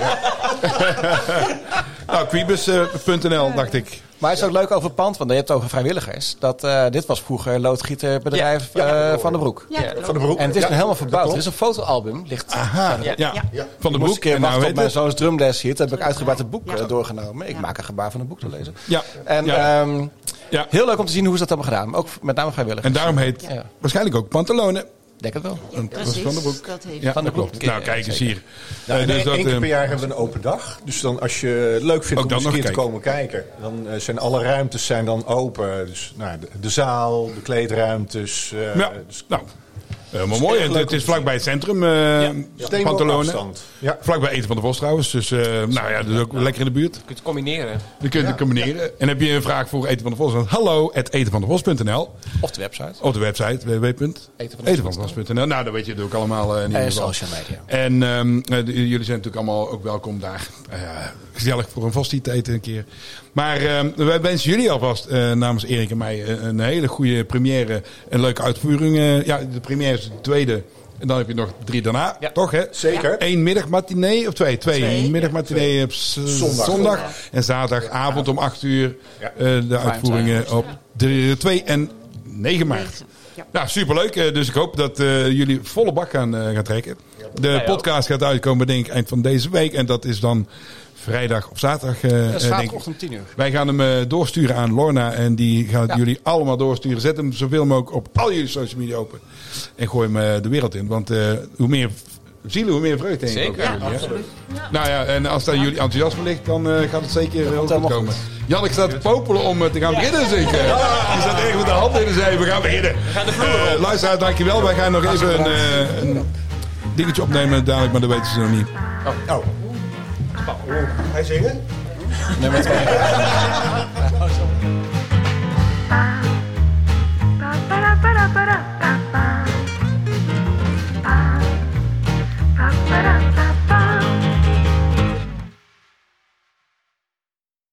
[SPEAKER 2] <laughs> nou, quibus.nl dacht ik.
[SPEAKER 1] Maar het is ook leuk over het pand, want je hebt het over vrijwilligers. Dat, eh, dit was vroeger loodgieterbedrijf
[SPEAKER 2] Ja, ja,
[SPEAKER 1] eh,
[SPEAKER 2] dat hoor
[SPEAKER 1] Van den
[SPEAKER 2] ik.
[SPEAKER 1] Broek.
[SPEAKER 2] Ja, dat Van den Broek.
[SPEAKER 1] En het is
[SPEAKER 2] Ja,
[SPEAKER 1] nu helemaal
[SPEAKER 2] dat
[SPEAKER 1] verbouwd. Er
[SPEAKER 2] klopt.
[SPEAKER 1] is een fotoalbum. Ligt
[SPEAKER 2] ja. Ja. Ja. Van den
[SPEAKER 1] Ik moest
[SPEAKER 2] Broek.
[SPEAKER 1] een keer
[SPEAKER 2] En nou
[SPEAKER 1] wachten
[SPEAKER 2] heet
[SPEAKER 1] op mijn
[SPEAKER 2] het?
[SPEAKER 1] zoons drumles hier. Toen heb ik uitgebreid het boek eh, doorgenomen. Ik maak een gebaar van het boek te lezen.
[SPEAKER 2] Ja.
[SPEAKER 1] En
[SPEAKER 2] Ja.
[SPEAKER 1] ehm, heel leuk om te zien hoe ze dat hebben gedaan. Ook met name vrijwilligers.
[SPEAKER 2] En daarom heet waarschijnlijk ook Pantalonen.
[SPEAKER 1] Denk het wel.
[SPEAKER 2] Dat was
[SPEAKER 1] Precies,
[SPEAKER 2] Van den Broek.
[SPEAKER 1] dat heeft-
[SPEAKER 2] ja,
[SPEAKER 1] Van den
[SPEAKER 2] dat
[SPEAKER 1] Broek.
[SPEAKER 2] klopt. Nou, kijk eens
[SPEAKER 1] Zeker.
[SPEAKER 2] hier.
[SPEAKER 11] Ja,
[SPEAKER 2] Eh,
[SPEAKER 11] en
[SPEAKER 2] dus
[SPEAKER 11] één
[SPEAKER 2] dat,
[SPEAKER 11] één keer
[SPEAKER 2] ehm,
[SPEAKER 11] per jaar hebben we een open dag. Dus dan als je het leuk vindt
[SPEAKER 2] Ook
[SPEAKER 11] om
[SPEAKER 2] dan
[SPEAKER 11] eens een
[SPEAKER 2] nog
[SPEAKER 11] keer te
[SPEAKER 2] kijken.
[SPEAKER 11] komen kijken, dan eh, zijn alle ruimtes zijn dan open. Dus nou, de, de zaal, de kleedruimtes. eh,
[SPEAKER 2] Ja,
[SPEAKER 11] dus,
[SPEAKER 2] nou, Helemaal mooi. En het is vlakbij het centrum, eh
[SPEAKER 11] Steenworp
[SPEAKER 2] Pantalonen.
[SPEAKER 11] afstand.
[SPEAKER 2] Vlakbij Eten van de Vos trouwens. Dus eh, nou ja, dat is ook lekker in de buurt.
[SPEAKER 5] kunt het combineren.
[SPEAKER 2] Je kunt het combineren. En heb je een vraag voor Eten van de Vos? Dan hallo at etenvandevos.nl.
[SPEAKER 1] Of de website.
[SPEAKER 2] Op de website www.etenvandevos.nl. Nou, dan weet je het ook allemaal. eh, in ieder
[SPEAKER 1] En
[SPEAKER 2] geval.
[SPEAKER 1] social media.
[SPEAKER 2] En ehm, eh, de- jullie zijn natuurlijk allemaal ook welkom daar. Eh, gezellig voor een vastie te eten een keer. Maar ehm, wij wensen jullie alvast eh, namens Erik en mij eh, een hele goede première. Een leuke uitvoering. eh, ja, de première is de tweede. En dan heb je nog drie daarna, toch hè?
[SPEAKER 11] Zeker.
[SPEAKER 2] Eén middagmatinee of twee? Twee. middagmatinee op z- zondag.
[SPEAKER 11] Zondag.
[SPEAKER 2] En zaterdagavond om acht uur
[SPEAKER 11] Ja.
[SPEAKER 2] eh, de uitvoeringen op de 2 en 9 maart. Nou, superleuk. Eh, Dus ik hoop dat eh, jullie volle bak gaan, eh, gaan trekken. De
[SPEAKER 1] Wij
[SPEAKER 2] podcast gaat uitkomen, denk ik, eind van deze week. En dat is dan vrijdag of zaterdag. eh, eh,
[SPEAKER 1] Dat is
[SPEAKER 2] denk ik.
[SPEAKER 1] zaterdagochtend 10 uur.
[SPEAKER 2] Wij gaan hem eh, doorsturen aan Lorna. En die gaat
[SPEAKER 1] Ja.
[SPEAKER 2] jullie allemaal doorsturen. Zet hem zoveel mogelijk op al jullie social media open. En gooi hem eh, de wereld in. Want eh, hoe meer zielen, hoe meer vreugde. denk ik ook.
[SPEAKER 5] Zeker. Ja,
[SPEAKER 2] Hè?
[SPEAKER 5] absoluut.
[SPEAKER 2] Nou ja, en als daar jullie enthousiasme ligt, dan eh, gaat het zeker heel goed komen. Jannik staat te popelen om eh, te gaan beginnen, zeker. Die staat echt met de hand in de zij. We gaan beginnen. Eh, luisteraar, dankjewel. Wij gaan nog even een, eh, een dingetje opnemen dadelijk, maar dat weten ze nog niet.
[SPEAKER 11] Oh.
[SPEAKER 2] Oh.
[SPEAKER 11] Hij zingen?
[SPEAKER 1] Nummer twee.